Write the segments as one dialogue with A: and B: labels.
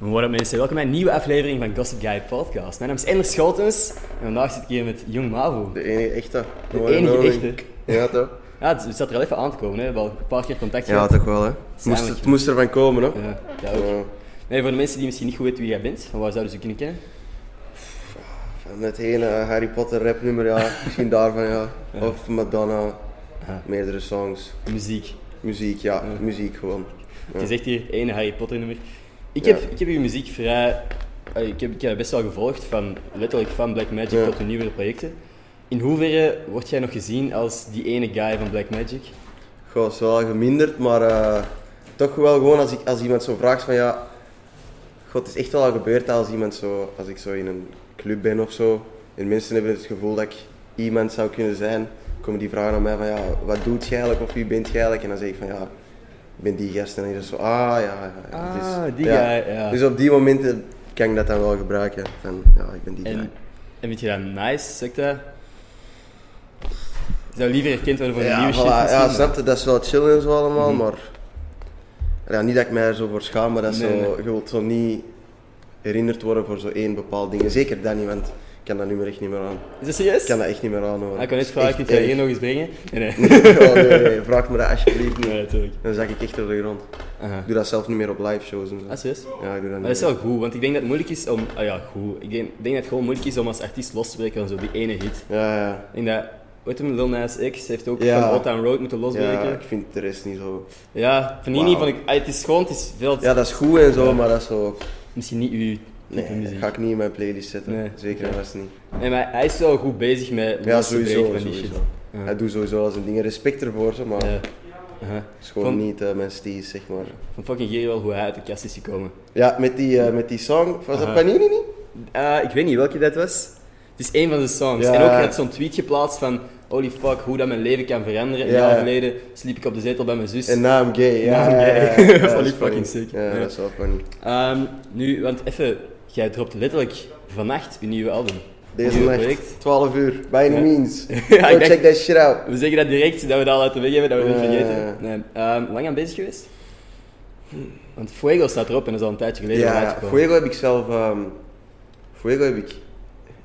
A: What up mensen, welkom bij een nieuwe aflevering van Gossip Guy Podcast. Mijn naam is Ender Schotens en vandaag zit ik hier met Jong Mavo.
B: De enige echte.
A: De enige echte.
B: Ja, toch?
A: Ja, het het zat er al even aan te komen, hè. we hebben al een paar keer contact
B: Ja,
A: gehad.
B: toch wel, hè? Moest,
A: Eigenlijk.
B: het moest ervan komen, hè?
A: Ja, ja, ook.
B: Ja.
A: Nee, voor de mensen die misschien niet goed weten wie jij bent, van waar zouden ze je kunnen kennen?
B: Met heen eh, Harry Potter rap nummer, ja. Misschien daarvan, ja. Of Madonna. Meerdere songs.
A: Muziek.
B: Muziek, ja. Muziek gewoon.
A: Je zegt hier het ene Harry Potter nummer. Ik,
B: Ja.
A: heb, ik heb je muziek vrij... eh, Ik heb, ik heb best wel gevolgd, van, letterlijk van Black Magic
B: Ja.
A: tot de nieuwere projecten. In hoeverre word jij nog gezien als die ene guy van Black Magic?
B: Goh, is wel geminderd, maar eh, toch wel gewoon als, ik, als iemand zo vraagt van ja. God, het is echt wel al gebeurd dat als iemand zo, als ik zo in een club ben of zo. En mensen hebben het gevoel dat ik iemand zou kunnen zijn. Komen die vragen aan mij van ja, wat doet jij eigenlijk of wie bent jij eigenlijk? En dan zeg ik van ja, ik ben die gast. En dan is het zo, ah ja, ja. ja.
A: Ah,
B: Dus,
A: die guy, ja.
B: Dus op die momenten kan ik dat dan wel gebruiken. Van ja, ik ben die
A: En,
B: guy.
A: en vind je dat nice, zeg ik dat? Je Zou liever herkend worden voor de
B: Ja,
A: nieuwe shit?
B: voilà,
A: misschien,
B: ja
A: maar-
B: snap je, dat is wel chill en zo allemaal,
A: Mhm.
B: maar... Ja, niet dat ik mij er zo voor schaam, maar dat is
A: Nee,
B: zo,
A: nee.
B: je wilt zo niet herinnerd worden voor zo één bepaald ding. En Zeker dat niet, want ik kan dat nummer echt niet meer aan.
A: Is dat serieus?
B: Ik kan dat echt niet meer aan hoor.
A: Ah, ik kan net
B: Dat is
A: vragen, kun
B: echt
A: je dat hier
B: erg.
A: nog eens brengen? Nee, nee.
B: Oh, nee, nee, vraag me dat alsjeblieft niet.
A: Nee, natuurlijk.
B: Dan zak ik echt op de grond.
A: Aha.
B: Ik doe dat zelf niet meer op live shows en zo.
A: Ah, serieus?
B: Ja, ik doe dat
A: Maar dat
B: niet
A: is
B: meer.
A: wel goed, want ik denk dat het moeilijk is om... Ah ja, goed. Ik denk, ik denk dat het gewoon moeilijk is om als artiest los te breken van zo die ene hit.
B: Ja, ja.
A: Ik denk dat... Weet je, Lil Nas X heeft ook
B: Ja.
A: van Old Town Road moeten
B: Ja,
A: losbreken.
B: ik vind de rest niet zo...
A: Ja, van die
B: Wauw.
A: niet vond ik... ah, het is gewoon, het is veel...
B: Ja, dat is goed en zo, maar dat is zo...
A: Misschien niet uw type
B: Nee, dat
A: muziek.
B: ga ik niet in mijn playlist zetten.
A: Nee.
B: Zeker en vast niet.
A: Nee, maar hij is wel goed bezig met
B: Ja,
A: los te
B: sowieso.
A: breken van die
B: sowieso.
A: shit. Ja.
B: Hij doet sowieso al zijn dingen. Respect ervoor, zo, maar
A: Ja.
B: het
A: Aha.
B: is gewoon
A: Van-
B: niet eh, mijn steez, zeg maar.
A: Van fucking Geer wel hoe hij uit de kast is gekomen.
B: Ja, met die, eh, met die song, was dat Panini niet?
A: Eh, ik weet niet welke dat was. Het is één van de songs.
B: Ja.
A: En ook hij had zo'n tweet geplaatst van... Holy fuck, hoe dat mijn leven kan veranderen. Een
B: Ja.
A: jaar geleden sliep ik op de zetel bij mijn zus.
B: En naam gay, ja.
A: Naam
B: ja,
A: gay.
B: ja, ja.
A: Vond
B: dat is
A: ik fucking
B: funny.
A: sick.
B: Ja,
A: Ja.
B: dat is wel funny.
A: Ehm, nu, want even... Jij dropt letterlijk vannacht je nieuwe album.
B: Deze
A: Nieuwe
B: nacht, 12 uur, by
A: Ja.
B: any means.
A: ik
B: Go
A: denk-
B: check that shit out.
A: We zeggen dat direct, dat we dat al uit de weg hebben, dat we het niet
B: Ja.
A: vergeten. Nee. Ehm, lang aan bezig geweest? Want Fuego staat erop en dat is al een tijdje geleden al
B: Ja,
A: uitgekomen.
B: Fuego heb ik zelf, ehm Fuego heb ik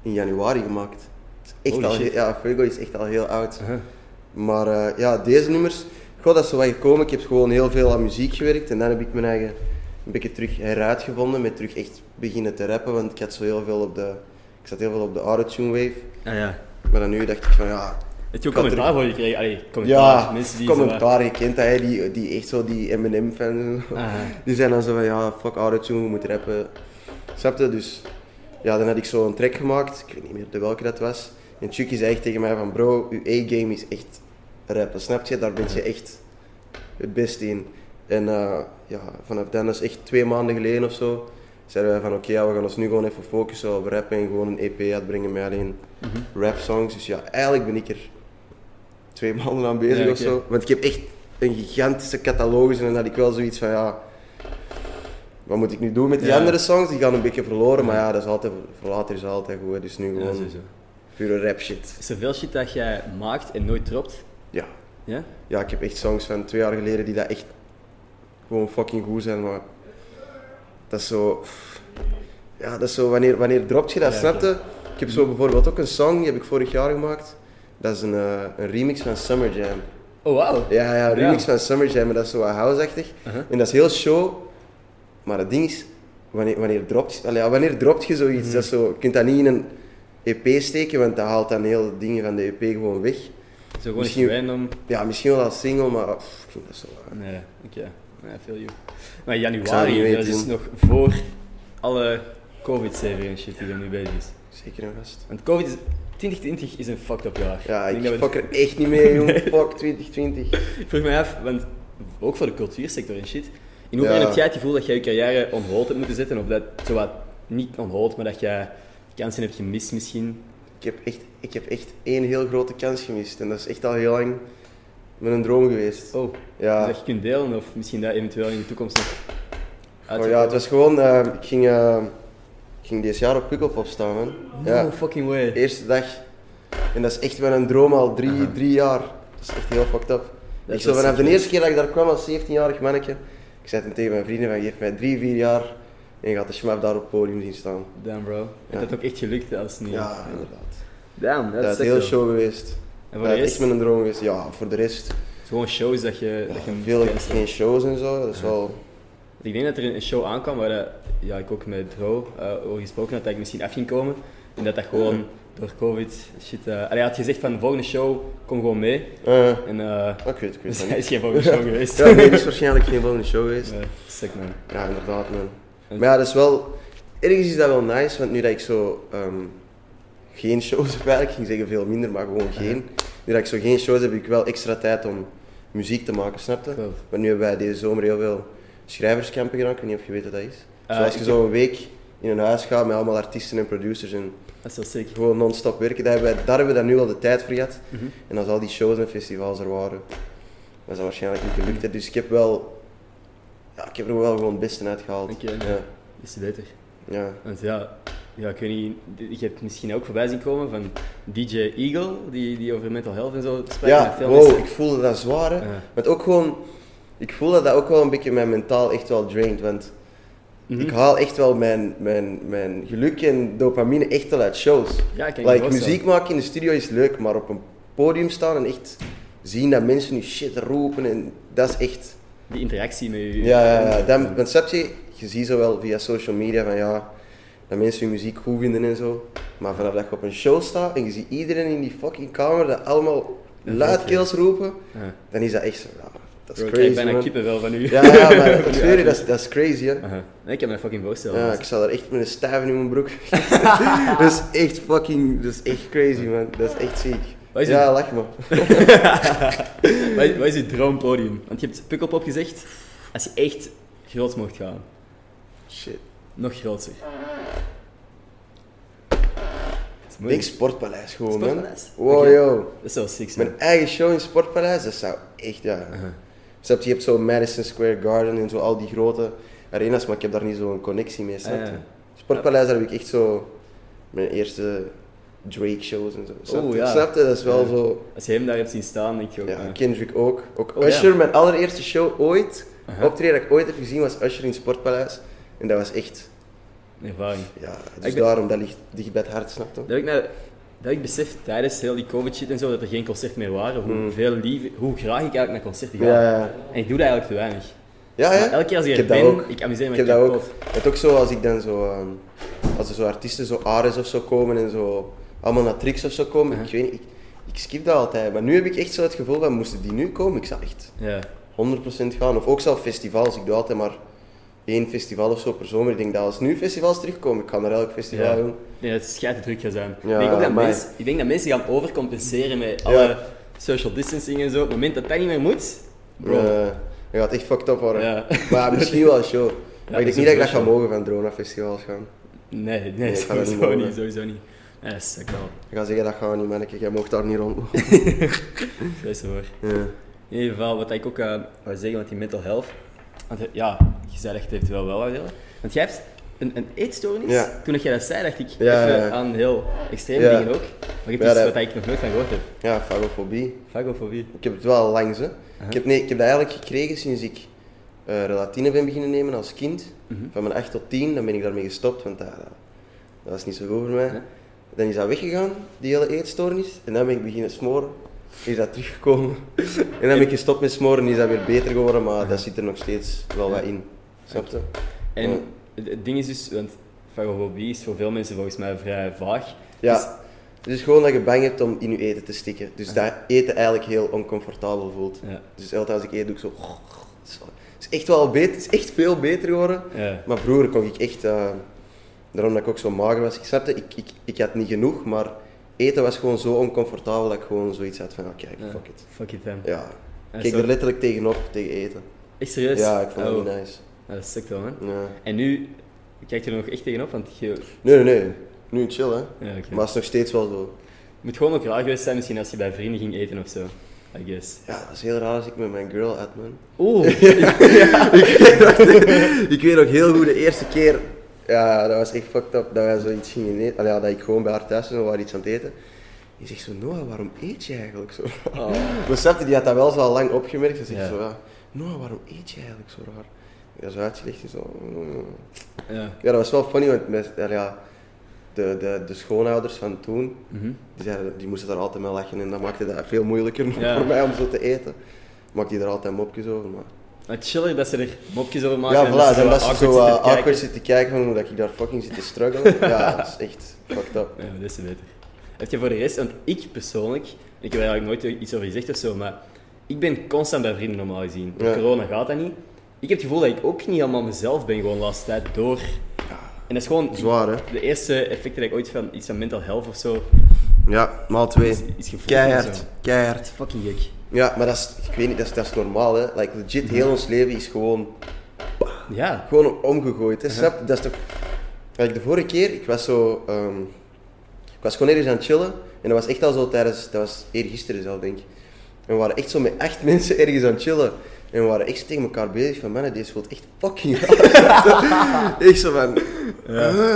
B: in januari gemaakt. Het is Echt
A: Holy
B: al,
A: shit. Uh-huh.
B: he- ja, Fuego is echt al heel oud. Maar eh, ja, deze nummers, god, dat is zo wat gekomen. Ik heb gewoon heel veel aan muziek gewerkt en dan heb ik mijn eigen een beetje terug heruitgevonden, met terug echt beginnen te rappen, want ik had zo heel veel op de, ik zat heel veel op de autotune wave.
A: Ah, ja.
B: Maar dan nu dacht ik van ja,
A: Heb je ook
B: Ik had
A: commentaar voor gekregen? Allee, commentaar.
B: ja,
A: mensen die zo-
B: commentaar, je kent dat, hè, die, die echt zo die Eminem-fans, en zo.
A: Ah.
B: die zijn dan zo van ja, fuck autotune, we moeten rappen. Snap je? Dus ja, dan had ik zo een track gemaakt, ik weet niet meer de welke dat was. En Chucky zei echt tegen mij van bro, uw A-game is echt rappen, snap je? Daar ben je echt het beste in. En eh, ja, vanaf dan, dat is echt twee maanden geleden of zo, zeiden wij van oké, ja, we gaan ons nu gewoon even focussen op rappen en gewoon een EP uitbrengen met alleen
A: Mhm.
B: rap songs. Dus ja, eigenlijk ben ik er twee maanden aan bezig
A: Ja,
B: of
A: oké.
B: zo. Want ik heb echt een gigantische catalogus en dan had ik wel zoiets van ja, wat moet ik nu doen met die
A: Ja.
B: andere songs? Die gaan een beetje verloren, maar ja, dat is altijd, voor later is altijd goed. hè. Dus nu
A: Ja,
B: gewoon
A: sowieso.
B: pure rap shit.
A: Is er veel shit dat jij maakt en nooit dropt?
B: Ja.
A: Ja?
B: ja, ik heb echt songs van twee jaar geleden die dat echt gewoon fucking goed zijn, maar dat is zo... Ja, dat is zo, wanneer, wanneer dropt je dat,
A: Ja,
B: snap
A: oké.
B: je? Ik heb zo bijvoorbeeld ook een song, die heb ik vorig jaar gemaakt. Dat is een, eh, een remix van Summer Jam.
A: Oh, wauw.
B: Ja, ja, een remix
A: Ja.
B: van Summer Jam, maar dat is zo wat houseachtig. En dat is heel show. Maar het ding is, wanneer, wanneer, dropt, allee, ja, wanneer dropt je zoiets? Dat is zo, je kunt dat niet in een EP steken, want dat haalt dan heel dingen van de EP gewoon weg.
A: Zo gewoon
B: Misschien-
A: eens random.
B: Ja, misschien wel als single, maar pff, ik vind dat zo...
A: Nee, oké. Nee, veel you. Maar
B: Ik zou het niet
A: januari, dat
B: weten,
A: is
B: joh.
A: nog voor alle covid-serie en shit die er nu bezig is.
B: Zeker een gast.
A: Want covid is... 2020 is een fucked up jaar.
B: Ja,
A: denk
B: ik
A: dat we-
B: fuck er echt niet mee, jongen. Fuck 2020.
A: Ik vroeg mij af, want ook voor de cultuursector en shit. In hoeverre
B: Ja.
A: heb jij het gevoel dat jij je carrière on hold hebt moeten zetten? Of dat, zowat, niet on hold, maar dat jij kansen heb gemist misschien.
B: Ik heb, echt, ik heb echt één heel grote kans gemist. En dat is echt al heel lang mijn droom geweest.
A: Oh,
B: Ja.
A: dat je kunt delen of misschien dat eventueel in de toekomst nog
B: Oh ja, het was gewoon, eh, ik, ging, eh, ik ging dit jaar op Pukkelpop staan, man.
A: No
B: Ja,
A: fucking way.
B: de eerste dag. En dat is echt mijn droom al drie,
A: Aha.
B: drie jaar. Dat is echt heel fucked up.
A: Dat
B: ik
A: is
B: zo
A: wel
B: vanaf de
A: sick,
B: eerste keer dat ik daar kwam als 17-jarig mannetje, ik zei toen tegen mijn vrienden van geef mij drie, vier jaar en je gaat de schmaf daar op het podium zien staan.
A: Damn bro.
B: Ja.
A: Het had ook echt gelukt als niet.
B: Ja, inderdaad.
A: Damn, dat,
B: Dat,
A: is
B: is
A: echt
B: heel
A: zo.
B: show geweest.
A: En voor
B: Dat
A: de
B: Eh, is
A: rest,
B: echt mijn droom geweest. Ja, voor de rest.
A: het is gewoon shows dat je... dat je
B: Veel
A: kansen
B: geen shows en zo, dat is wel...
A: Ik denk dat er een show aankwam waar dat- ja, ik ook met Dro eh, over gesproken had dat ik misschien af ging komen. En dat dat gewoon
B: Ja.
A: door COVID shit. eh, allee, hij had gezegd van de volgende show kom gewoon mee.
B: eh,
A: En eh
B: ik weet het, ik weet
A: dus
B: het
A: hij
B: niet.
A: is geen volgende show geweest.
B: Ja, nee, dat is waarschijnlijk geen volgende show geweest.
A: Eh, sick man.
B: Ja, inderdaad, man.
A: En-
B: Maar ja, dat is wel... Ergens is dat wel nice, want nu dat ik zo... ehm, geen shows heb eigenlijk, ik ging zeggen veel minder, maar gewoon geen. Nu dat ik zo geen shows heb, heb ik wel extra tijd om muziek te maken, snap je?
A: Klopt.
B: Want nu hebben wij deze zomer heel veel schrijverskampen gedaan. Ik weet niet of je weet wat dat is.
A: Eh,
B: Zoals
A: ik
B: je zo een week in een huis gaat met allemaal artiesten en producers en
A: Dat is wel sick.
B: gewoon non-stop werken. Daar hebben, wij, daar hebben we dan nu al de tijd voor gehad. En als al die shows en festivals er waren, was dat waarschijnlijk niet gelukt. hè. Dus ik heb wel... Ja, ik heb er wel gewoon het beste uit gehaald.
A: Oké.
B: Ja,
A: Is beter.
B: ja.
A: Want ja, ja, ik weet niet, ik heb misschien ook voorbij zien komen van DJ Eagle, die, die over mental health en zo sprak. in
B: ja
A: de film.
B: wow, ik voelde dat zwaar. Hè.
A: Ja.
B: Want ook gewoon... Ik voel dat dat ook wel een beetje mijn mentaal echt wel draint. Want
A: Mhm.
B: ik haal echt wel mijn, mijn, mijn geluk en dopamine echt wel uit shows.
A: Ja, ik kan me
B: Like,
A: voorstellen.
B: muziek maken in de studio is leuk, maar op een podium staan en echt zien dat mensen nu shit roepen en dat is echt...
A: Die interactie met je.
B: Ja, ja, ja. Dan, want snap je, je ziet zo wel via social media van ja, dat mensen hun muziek goed vinden en zo. Maar vanaf dat je op een show staat en je ziet iedereen in die fucking kamer dat allemaal
A: Dat
B: luidkeels roepen,
A: Ja.
B: dan is dat echt zo, ja, dat is
A: Bro, ik
B: crazy
A: krijg bijna
B: man.
A: kippenvel van u.
B: Ja, ja, maar ik zweer je, dat is, dat is crazy hè.
A: Aha. Nee, ik heb me fucking voorstellen.
B: Ja, ik zat daar echt met een stijf in mijn broek. dat is echt fucking, dat is echt crazy man, dat is echt ziek.
A: Wat is
B: Ja, lach maar.
A: Wat is, wat is je droompodium? Want je hebt Pukkelpop gezegd, als je echt groot mocht gaan,
B: Shit.
A: nog groter. Dat is
B: Ik
A: moeilijk.
B: Sportpaleis gewoon
A: Sportpaleis?
B: man. Wow
A: Oké.
B: yo.
A: Dat is wel sick, man.
B: Mijn eigen show in Sportpaleis, dat zou echt, ja. Snap je, je hebt zo Madison Square Garden en zo al die grote arenas, maar ik heb daar niet zo'n connectie mee, snap je?
A: Ah, ja.
B: Sportpaleis, daar heb ik echt zo mijn eerste Drake-shows en zo. Snap je?
A: Oeh, ja.
B: Snap je? Dat is wel
A: Ja.
B: zo...
A: Als je hem daar hebt zien staan, denk je ook.
B: Ja,
A: ah.
B: Kendrick ook. Ook
A: Oh, ja.
B: Usher, mijn allereerste show ooit,
A: Aha.
B: optreden dat ik ooit heb gezien, was Usher in Sportpaleis. En dat was echt,
A: Een ervaring.
B: ja, dus
A: ben-
B: daarom, dat ligt dicht bij het hart, snap je?
A: Dat ik, me- dat ik besef tijdens heel die COVID shit en zo dat er geen concerten meer waren, hoe, veel lief, hoe graag ik eigenlijk naar concerten ga.
B: Hmm. Ja, ja.
A: En ik doe dat eigenlijk te weinig.
B: Ja,
A: Maar
B: hè?
A: elke keer als ik
B: Ik
A: er
B: heb dat
A: ben,
B: ook.
A: ik amuseer me
B: Ik heb dat ook.
A: kapot.
B: Het ook zo als ik dan zo, ehm, als er zo artiesten, zo Ares of zo komen en zo, allemaal naar Trix of zo komen,
A: Uh-huh.
B: ik weet niet, ik, ik skip dat altijd. Maar nu heb ik echt zo het gevoel van, moesten die nu komen, ik zou echt
A: Ja.
B: 100% gaan. Of ook zelf festivals, ik doe altijd maar één festival of zo per zomer. Ik denk dat als nu festivals terugkomen, ik ga naar elk festival
A: Ja.
B: doen.
A: Nee, dat is schijt druk gaan zijn.
B: Ja,
A: ik, denk ook dat
B: amai.
A: mensen, ik denk dat mensen gaan overcompenseren met alle social distancing en zo. Op het moment dat dat niet meer moet, bro.
B: Eh, dat gaat echt fucked up worden.
A: Ja.
B: Maar misschien wel show. maar ik
A: dat is
B: denk niet dat ik
A: wel
B: dat ga
A: show.
B: mogen van drone festivals gaan.
A: nee, nee,
B: ik ga dat niet
A: sowieso
B: mogen.
A: niet, sowieso niet. Nee, dat is wel.
B: Ik ga zeggen, dat gaan we niet, manneke. Jij mocht daar niet rond.
A: Vrees hoor.
B: ja.
A: In ieder geval, wat ik ook eh wou zeggen, want die mental health. Want eh, ja, je zei echt heeft wel wel wat willen. Want jij hebt een, een eetstoornis.
B: Ja.
A: Toen dat jij dat zei, dacht ik
B: Ja,
A: even
B: ja, ja.
A: aan heel extreme
B: Ja.
A: dingen ook. Maar je hebt
B: Ja,
A: iets
B: dat-
A: wat ik nog nooit van gehoord heb.
B: ja, fagofobie.
A: Fagofobie.
B: Ik heb het wel al langs. Hè.
A: Uh-huh.
B: ik, heb, nee, ik heb dat eigenlijk gekregen sinds ik eh relatine ben beginnen nemen als kind.
A: Uh-huh.
B: Van mijn 8 tot 10, dan ben ik daarmee gestopt, want dat, dat, dat was niet zo goed voor mij.
A: Ja.
B: Dan is dat weggegaan, die hele eetstoornis. En dan ben ik beginnen smoren. Is dat teruggekomen. en dan ben ik gestopt met smoren, is dat weer beter geworden, maar dat zit er nog steeds wel wat in. Snap je?
A: En
B: Ja.
A: het, het ding is dus, want fagofobie is voor veel mensen volgens mij vrij vaag. Dus
B: Ja. Dus gewoon dat je bang hebt om in je eten te stikken. Dus dat eten eigenlijk heel oncomfortabel voelt.
A: Ja.
B: Dus altijd als ik eet, doe ik zo... zo. Het is echt wel beter, het is echt veel beter geworden.
A: Ja.
B: Maar vroeger kon ik echt... eh, daarom dat ik ook zo mager was. Ik snapte, ik, ik, ik had niet genoeg, maar eten was gewoon zo oncomfortabel dat ik gewoon zoiets had van, oké,
A: ja,
B: fuck it.
A: Fuck it, man.
B: Ja.
A: En
B: Ik keek
A: zo-
B: er letterlijk tegenop, tegen eten.
A: Echt serieus?
B: Ja, ik vond dat
A: Oh.
B: niet nice.
A: Nou, dat is sick wel, man.
B: Ja.
A: En nu, kijk je er nog echt tegenop, want je...
B: Nee, nee, nee. Nu chill, hè.
A: Ja, oké.
B: Maar het is nog steeds wel zo.
A: Moet gewoon ook raar geweest zijn, misschien als je bij vrienden ging eten of zo. I guess.
B: Ja, dat is heel raar als ik met mijn girl uit, man.
A: Oeh,
B: ik weet nog heel goed de eerste keer. Ja, dat was echt fucked up. Dat wij zoiets gingen eten. Allee, ja, dat ik gewoon bij haar thuis was en we waren iets aan het eten. Die zegt zo, Noah, waarom eet je eigenlijk zo raar? Besefte, die had dat wel zo al lang opgemerkt. Ze zegt
A: Oh. Ja.
B: zo, ja, Noah, waarom eet je eigenlijk zo raar? Ja, zo uitgelegd. die Zo, mm.
A: ja.
B: Ja, dat was wel funny, want met, ja, ja, de, de, de schoonouders van toen,
A: Mhm.
B: die, zeiden, die moesten daar altijd mee lachen en dat maakte dat veel moeilijker
A: Ja.
B: voor mij om zo te eten. Maakte die er altijd mopjes over, maar...
A: Het chiller dat ze er mopjes over maken.
B: Ja,
A: en
B: voilà,
A: ze
B: dan was
A: zo
B: ze
A: dus awkward zitten te kijken.
B: zo eh, awkward zitten kijken van hoe dat ik daar fucking zit te struggelen. ja, dat is echt fucked up.
A: Ja, maar dat is beter. Heb je voor de rest, want ik persoonlijk, ik heb er eigenlijk nooit iets over gezegd of zo, maar ik ben constant bij vrienden normaal gezien. Door
B: Ja.
A: corona gaat dat niet. Ik heb het gevoel dat ik ook niet helemaal mezelf ben, gewoon de laatste tijd door. En dat is gewoon
B: Zwaar, hè?
A: de eerste effecten dat ik ooit van iets van mental health of zo.
B: Ja, maal twee.
A: Iets- iets gevoeld of
B: Keihard,
A: zo.
B: keihard.
A: Fucking gek. Mhm.
B: Ja, maar dat is, ik weet niet, dat is, dat is normaal, hè. Like, legit, heel ons leven is gewoon
A: Ja.
B: Gewoon omgegooid, hè? snap je? Dat is toch... Kijk, de vorige keer, ik was zo... ehm, ik was gewoon ergens aan het chillen. En dat was echt al zo tijdens... Dat was eergisteren zelf, denk ik. En we waren echt zo met acht mensen ergens aan het chillen. En we waren echt zo tegen elkaar bezig van... Mannen, deze voelt echt fucking raar." echt zo van... "Huh?"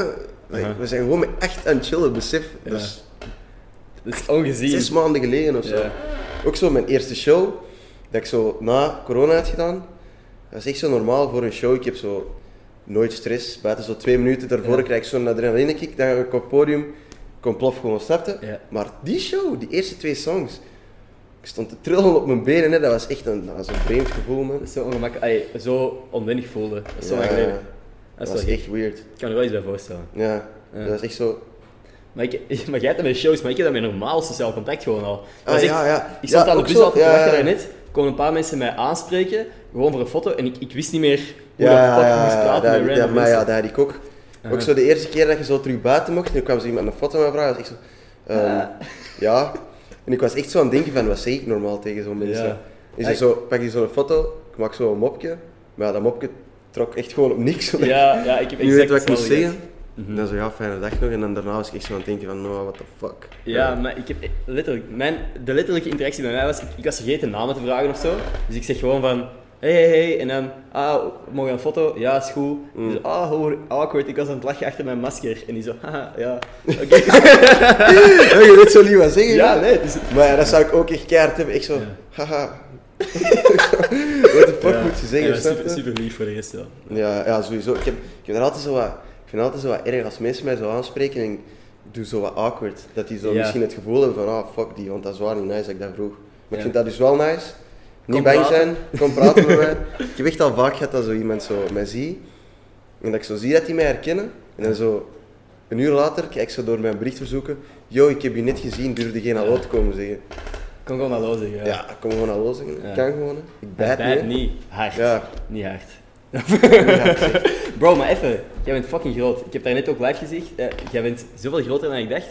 B: Like, We zijn gewoon met echt aan het chillen, besef. Dus Dat is
A: Dat is ongezien.
B: zes maanden geleden of zo.
A: Ja.
B: Ook zo mijn eerste show, dat ik zo na corona had gedaan. Dat is echt zo normaal voor een show. Ik heb zo nooit stress. Buiten zo twee minuten daarvoor krijg ik zo'n adrenaline kick. Dan ga ik op het podium, ik kom plof gewoon starten.
A: Ja.
B: Maar die show, die eerste twee songs, ik stond te trillen op mijn benen. Hè. Dat was echt een, dat was een vreemd gevoel, man.
A: Dat is zo ongemakkelijk. Ay, zo onwennig voelde. Dat is zo
B: Ja,
A: lang geleden. Dat
B: Dat
A: is
B: was
A: wel gek.
B: echt weird.
A: Ik kan er wel iets bij voorstellen.
B: Ja,
A: Ja.
B: dat was echt zo.
A: Maar, ik, maar jij hebt dat met shows, maar ik heb dat met normaal sociaal contact gewoon al. Dat
B: Ah,
A: is echt-
B: ja, ja.
A: Ik zat
B: Ja,
A: aan de
B: ook
A: bus
B: zo,
A: altijd te
B: ja,
A: wachten
B: ja.
A: daarnet, kwamen een paar mensen mij aanspreken, gewoon voor een foto, en ik, ik wist niet meer hoe
B: Ja,
A: dat fuck
B: ja,
A: ik moest
B: ja,
A: praten
B: dat,
A: met
B: ja,
A: random
B: maar ja,
A: mensen.
B: dat had ik ook. Ook zo de eerste keer dat je zo terug buiten mocht, en toen kwam ze iemand een foto aan vragen, was ik zo... ehm, Ja. En ik was echt zo aan het denken van, wat zeg ik normaal tegen zo'n mensen?
A: Ja.
B: Is
A: Hey.
B: er zo, pak je zo'n foto, ik maak zo'n mopje, maar ja, dat mopje trok echt gewoon op niks.
A: ja, ja, ik heb
B: je weet
A: exact Mhm.
B: wat ik moest
A: hetzelfde
B: zeggen.
A: gehad.
B: En dan zo, ja, fijne dag nog. En dan daarna was ik echt zo aan het denken van, no, what the fuck.
A: Ja, maar ik heb e- letterlijk, mijn, de letterlijke interactie bij mij was, ik, ik was vergeten namen te vragen of zo. Dus ik zeg gewoon van, hey, hey, hey, en dan, ah, mogen we een foto? Ja, is goed.
B: Mm.
A: Dus, ah, hoe awkward, ik was aan het lachen achter mijn masker. En die zo, haha, ja, oké.
B: Ja, je weet zo niet wat zeggen.
A: ja,
B: ja.
A: nee, het is...
B: Maar ja, dat zou ik ook echt keihard hebben. Echt zo,
A: Ja.
B: haha. Wat de fuck
A: Ja.
B: moet je
A: Ja,
B: zeggen? snap
A: super,
B: je?
A: super lief voor de rest wel.
B: Ja, ja sowieso. Ik, heb, ik, heb er altijd zo wat, ik vind het altijd zo wat erg als mensen mij zo aanspreken en ik doe zo wat awkward. Dat die zo
A: Ja.
B: misschien het gevoel hebben van, ah, fuck die, want dat is waar niet nice dat ik dat vroeg. Maar
A: Ja.
B: ik vind dat dus wel nice. Niet
A: Kom
B: bang
A: praten.
B: zijn, kom praten met mij. Ik heb echt al vaak gehad dat zo iemand zo mij ziet en dat ik zo zie dat die mij herkennen. En dan zo een uur later kijk ik zo door mijn bericht verzoeken. Yo, ik heb je net gezien, durfde geen hallo te komen zeggen.
A: Ik kon gewoon hallo zeggen.
B: Ja, kom gewoon hallo zeggen.
A: Ja.
B: Ik kan gewoon. hè. Ik
A: Bij
B: bijt, niet. hè.
A: niet. Hard.
B: Ja.
A: Niet hard. Bro, maar even. Jij bent fucking groot. Ik heb daar net ook live gezegd. eh, jij bent zoveel groter dan ik dacht.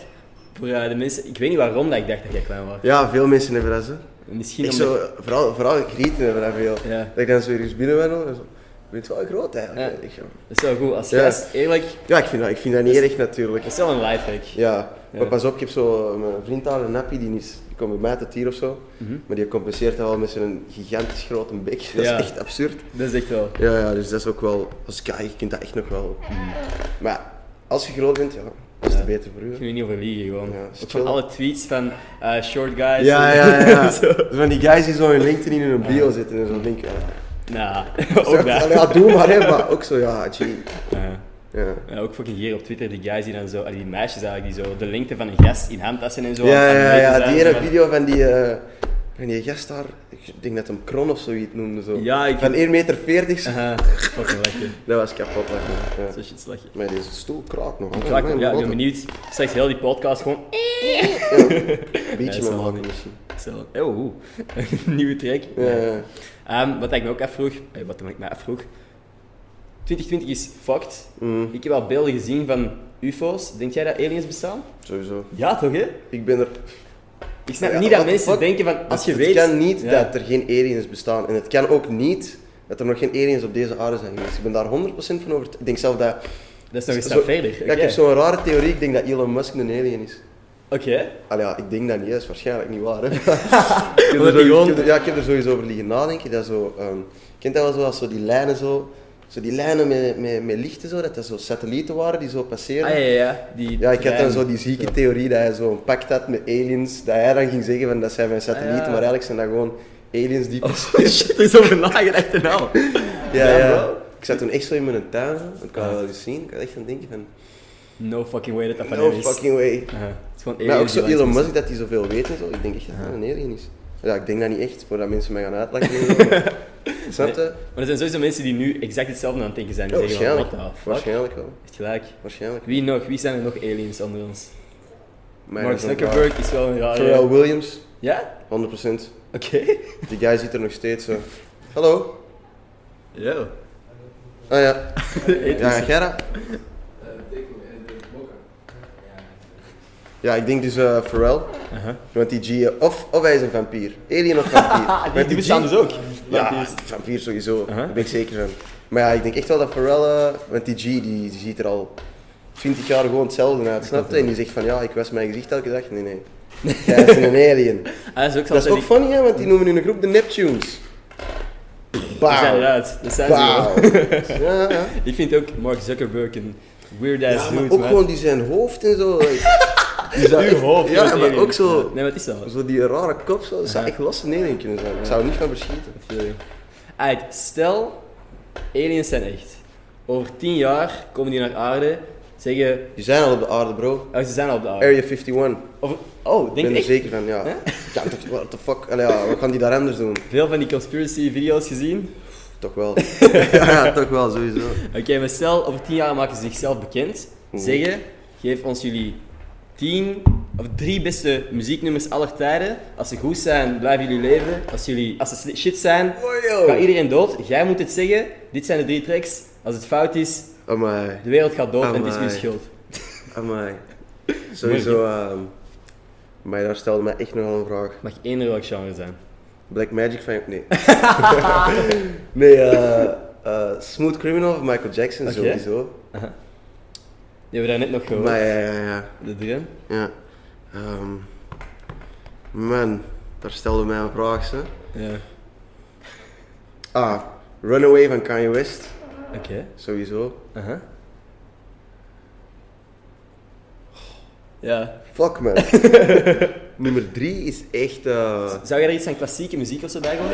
A: Voor eh, de mensen... Ik weet niet waarom dat ik dacht dat jij klein was.
B: Ja, veel mensen hebben dat zo.
A: Misschien
B: Ik
A: omdat...
B: zo, vooral, vooral grieten hebben daar veel.
A: Ja.
B: Dat ik dan zo ergens binnen ben hoor, en zo. Je bent wel groot eigenlijk.
A: Ja.
B: Ik zo,
A: Dat is wel goed. Als
B: Ja.
A: gast, eerlijk,
B: Ja, ik vind dat, ik vind dat niet erg natuurlijk.
A: dat is wel een lifehack.
B: Ja.
A: Ja.
B: maar pas op, ik heb zo eh, mijn vriend daar, een nappie, die, is, die komt bij mij tot hier of zo. Maar die compenseert dat wel met zijn gigantisch grote bek. Dat
A: Ja.
B: is echt absurd.
A: Dat is echt wel...
B: Ja, ja, dus dat is ook wel, als guy, je kunt dat echt nog wel. Maar ja, als je groot bent, ja, is het beter voor u.
A: Ik
B: hè.
A: kan je niet over liegen, gewoon.
B: Ja,
A: ook van
B: chill.
A: alle tweets van eh, short guys.
B: Ja, ja, ja. ja.
A: Zo.
B: Van die guys die zo hun LinkedIn in hun bio zitten en zo denk ik, ja,
A: Nou, ook dat.
B: ja, doe maar hè, maar ook zo, ja, gee.
A: Ja.
B: Ja.
A: Ja, ook fucking hier op Twitter, die guys die dan zo, die meisjes eigenlijk, die zo de lengte van een gast in handtassen en zo. aan
B: Ja,
A: het
B: ja,
A: meten
B: ja,
A: zijn,
B: die
A: zo
B: ene
A: van-
B: video van die, eh, van die gast daar, ik denk dat hem Kron of zoiets noemde zo.
A: Ja, ik-
B: Van 1,40 meter.
A: Aha, fucking lekker.
B: Dat was kapot lachen. Ja.
A: Zo shit lachen.
B: Maar deze stoel kraakt nog.
A: Ja, ik ja, ik ben
B: een
A: benieuwd. Straks heel die podcast gewoon...
B: beetje
A: Ja,
B: mee
A: zal
B: maken
A: niet.
B: misschien.
A: Zo, oh, oeh. nieuwe track.
B: Ja, ja.
A: Ehm, wat ik me ook afvroeg, eh, wat ik me afvroeg, 2020 is fucked.
B: Mm.
A: Ik heb al beelden gezien van UFO's. Denk jij dat aliens bestaan?
B: Sowieso.
A: Ja, toch hè?
B: Ik ben er...
A: Ik snap
B: Ja,
A: niet dat
B: what the
A: mensen
B: fuck?
A: denken van, als je
B: het
A: weet...
B: kan niet
A: Ja.
B: dat er geen aliens bestaan. En het kan ook niet dat er nog geen aliens op deze aarde zijn geweest. Ik ben daar 100% van overtuigd. Ik denk zelf dat
A: Dat is nog een
B: Zo-
A: stap verder. Oké.
B: Ja, ik heb zo'n rare theorie, ik denk dat Elon Musk een alien is.
A: Oké.
B: Al Ah, ja, ik denk dat niet, dat is waarschijnlijk niet waar. Hè. ik heb
A: Omdat die
B: er sowieso,
A: gewoon-
B: ik heb er- ja, ik heb er sowieso over liggen nadenken. Dat zo, ehm, kent dat wel zo, als zo die lijnen zo, zo die lijnen met, met, met lichten zo, dat dat zo satellieten waren die zo
A: Ah
B: passeerden.
A: ja, ja. Die
B: Ja, ik had dan
A: trein.
B: zo die zieke theorie dat hij zo'n pact had met aliens, dat hij dan ging zeggen van dat zijn mijn satellieten,
A: Ah, ja.
B: maar eigenlijk zijn dat gewoon aliens die...
A: Oh shit, er is over nagedacht en
B: nou.
A: al.
B: ja,
A: ja,
B: ja,
A: bro.
B: Ik zat toen echt zo in mijn tuin, zo. ik kan dat wel eens zien, ik had echt aan het denken van,
A: No fucking way dat dat van
B: no
A: hem is.
B: fucking way.
A: Aha. Het is gewoon
B: Maar ook
A: aliens
B: zo
A: die
B: Elon
A: langs
B: Musk, dat hij zoveel weet en zo, ik denk echt dat dat een alien is. Ja, ik denk dat niet echt, voordat mensen mij gaan uitlachen. en zo, maar- Snap je?
A: Maar er zijn sowieso mensen die nu exact hetzelfde aan het denken zijn. Die
B: Ja,
A: zeggen van,
B: Oh, waarschijnlijk.
A: what the fuck?
B: Waarschijnlijk wel.
A: Echt gelijk.
B: Waarschijnlijk.
A: Wie nog? Wie zijn er nog aliens onder ons?
B: Maar
A: Mark
B: dat is een
A: Zuckerberg is wel een
B: vraag.
A: rare...
B: Pharrell Williams,
A: Ja?
B: 100%.
A: Oké.
B: Die guy zit er nog steeds zo. Hallo?
A: Yo.
B: Ah ja. Ja, Gerra? Ja, ik denk dus eh Pharrell.
A: Uh-huh.
B: Want die G, eh, of, of hij is een vampier. Alien of vampier.
A: Ah, die,
B: Want
A: die
B: G-
A: bestaan dus ook.
B: Ja,
A: Want die is-
B: vampier sowieso.
A: Uh-huh.
B: Daar ben ik zeker van. Maar ja, ik denk echt wel dat Pharrell, eh, want die G, die, die ziet er al 20 jaar gewoon hetzelfde uit, snap je? En die zegt van, ja, ik was mijn gezicht elke dag. Nee, nee. Jij is een alien.
A: Hij is ook
B: Dat is ook
A: altijd...
B: funny, hè, want die noemen hun groep de Neptunes.
A: Die zijn
B: Bam.
A: eruit. Dat zijn ze wel.
B: Bam. Ja, ja.
A: Ik vind ook Mark Zuckerberg een weird ass
B: Ja, maar
A: dude,
B: ook
A: man.
B: gewoon die zijn hoofd en zo. like, die zou
A: Uw
B: echt-
A: hoofd. dat is
B: Ja, maar
A: alien.
B: ook zo,
A: Nee, maar het is wel.
B: zo die rare kop, zo, dat zou
A: Ja.
B: echt losse alien kunnen zijn. Ik zou er niet van verschieten.
A: Sorry. Eigenlijk, stel, aliens zijn echt. Over tien jaar komen die naar aarde, zeggen,
B: Die zijn al op de aarde, bro.
A: oh, ze zijn al op de aarde.
B: Area 51.
A: Over, oh, denk
B: Ik ben
A: je
B: er
A: echt?
B: zeker van, ja. Ja, toch, what the fuck? Allee, ja, wat gaan die daar anders doen?
A: Veel van die conspiracy video's gezien.
B: Toch wel. ja, ja, toch wel, sowieso.
A: Oké, maar stel, over tien jaar maken ze zichzelf bekend. Zeggen, geef ons jullie tien of drie beste muzieknummers aller tijden. Als ze goed zijn, blijven jullie leven. Als, jullie, als ze sli- shit zijn,
B: Wow.
A: gaat iedereen dood. Jij moet het zeggen, dit zijn de drie tracks. Als het fout is,
B: Amai,
A: de wereld gaat dood en het is uw
B: Amai.
A: schuld.
B: amai. Sowieso, ehm maar daar stelde mij echt nogal een vraag.
A: Mag één welk genre zijn.
B: Black Magic van... Nee. nee, eh eh, Smooth Criminal van Michael Jackson,
A: Oké.
B: sowieso.
A: Die hebben we daarnet nog gehoord.
B: Maar ja, ja, ja.
A: De drum.
B: ja. Ehm, man, daar stelde mij een vraag, ze.
A: Ja.
B: Ah, Runaway van Kanye West,
A: Oké.
B: sowieso.
A: Aha. Ja.
B: Fuck man. Nummer 3 is echt. eh
A: Zou jij er iets aan klassieke muziek of zo bij gooien?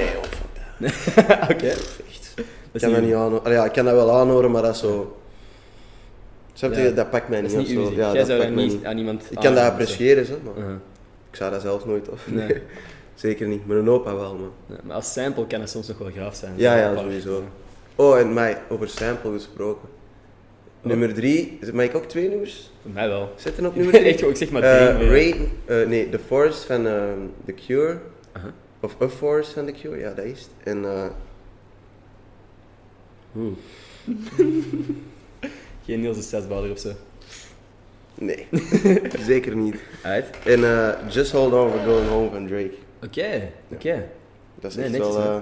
A: Nee, fuck dat. Oké. Echt.
B: ik
A: Dat is
B: kan dat niet
A: niet
B: aanhoren. Allee, ja, ik kan dat wel aanhoren, maar dat is zo. Snap je?
A: Ja.
B: Dat pakt mij
A: dat
B: niet.
A: is niet
B: of
A: uw
B: zo.
A: muziek.
B: Ja,
A: jij
B: dat
A: zou dat
B: pakt mij
A: niet
B: niet.
A: aan iemand
B: Ik kan dat
A: aanraden of zo.
B: appreciëren, zo, maar
A: Aha.
B: ik zou dat zelf nooit of.
A: Uh-huh. Nee.
B: Nee. Zeker niet. Mijn opa wel, man.
A: Ja, Maar als sample kan dat soms nog wel graaf zijn.
B: Ja,
A: Zo,
B: ja,
A: een paar-
B: sowieso. Oh, en mij, over sample gesproken.
A: Oh.
B: Nummer 3, mag ik ook twee nummers
A: Voor mij wel.
B: zetten op
A: Ik
B: nummer
A: ben
B: 3?
A: echt gewoon, ik zeg maar
B: Eh,
A: drie, maar-
B: Rain, eh, nee, The Forest van ehm, The Cure.
A: Aha.
B: Of A Forest van The Cure, ja, dat is het. En eh,
A: Oeh. Geen Niels de Stadsbader of zo.
B: nee, zeker niet.
A: Uit.
B: En eh, Just Hold On for Going Home van Drake.
A: Oké, oké.
B: Dat is
A: Nee,
B: echt
A: netjes,
B: wel
A: man.
B: eh,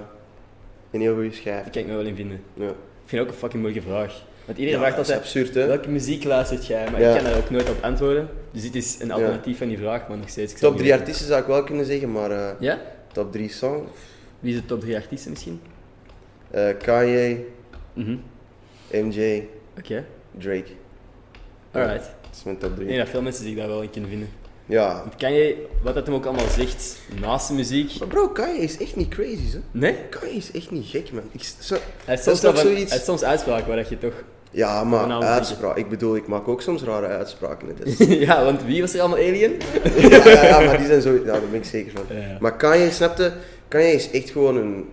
B: een heel goede schijf.
A: Daar kan ik me wel in vinden.
B: Ja.
A: Ik vind het ook een fucking moeilijke vraag. Want iedereen
B: Ja,
A: vraagt
B: dat is
A: altijd,
B: absurd, hè?
A: welke muziek luistert jij? Maar
B: Ja.
A: ik kan daar ook nooit op antwoorden. Dus dit is een alternatief van die vraag, maar nog steeds... ik zou
B: Top
A: niet
B: 3
A: weten.
B: artiesten zou ik wel kunnen zeggen, maar eh,
A: Ja?
B: top 3 song.
A: Wie is de top 3 artiesten misschien?
B: Eh, Kanye,
A: Mhm.
B: MJ,
A: Oké.
B: Drake.
A: Alright.
B: Dat is mijn top 3.
A: Ik denk dat veel mensen zich daar wel in kunnen vinden.
B: Ja.
A: Want kan je, wat dat hem ook allemaal zegt, naast de muziek...
B: Maar bro, Kanye is echt niet crazy, zo.
A: Nee?
B: Kanye is echt niet gek, man. Ik, zo,
A: Hij heeft soms,
B: dat is toch
A: wel van-
B: zoiets...
A: hij heeft soms uitspraken waar dat je toch...
B: Ja,
A: Van
B: maar
A: oude
B: uitspraak. Ik bedoel, ik maak ook soms rare uitspraken. hè, Dus.
A: ja, want wie was er allemaal alien?
B: ja, ja, ja, maar die zijn zo... Ja, daar ben ik zeker van.
A: Ja, ja.
B: Maar Kanye, snapte? Kanye is echt gewoon een...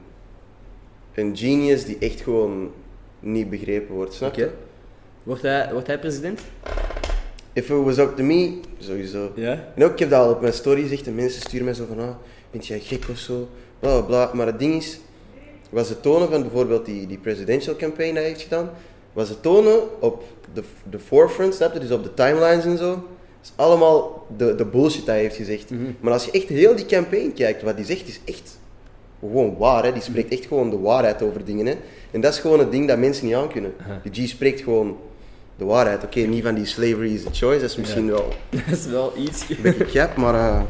B: Een genius die echt gewoon niet begrepen wordt, snap je?
A: Oké. Wordt hij, wordt hij president?
B: If it was up to me, sowieso.
A: Ja.
B: En ook, ik heb dat al op mijn story gezegd en mensen sturen mij zo van, ah, vind jij gek of zo, bla bla bla. Maar het ding is, was het tonen van bijvoorbeeld die, die presidential campaign dat hij heeft gedaan, was het tonen op de, de forefront, snap je, dus op de timelines en zo, is allemaal de, de bullshit dat hij heeft gezegd. Maar als je echt heel die campaign kijkt, wat hij zegt is echt gewoon waar, hè. die spreekt echt gewoon de waarheid over dingen. Hè. En dat is gewoon het ding dat mensen niet aan kunnen. Die G spreekt gewoon de waarheid. Oké, niet van die slavery is a choice, dat is misschien wel
A: Dat is wel iets.
B: een beetje cap, maar eh
A: Ik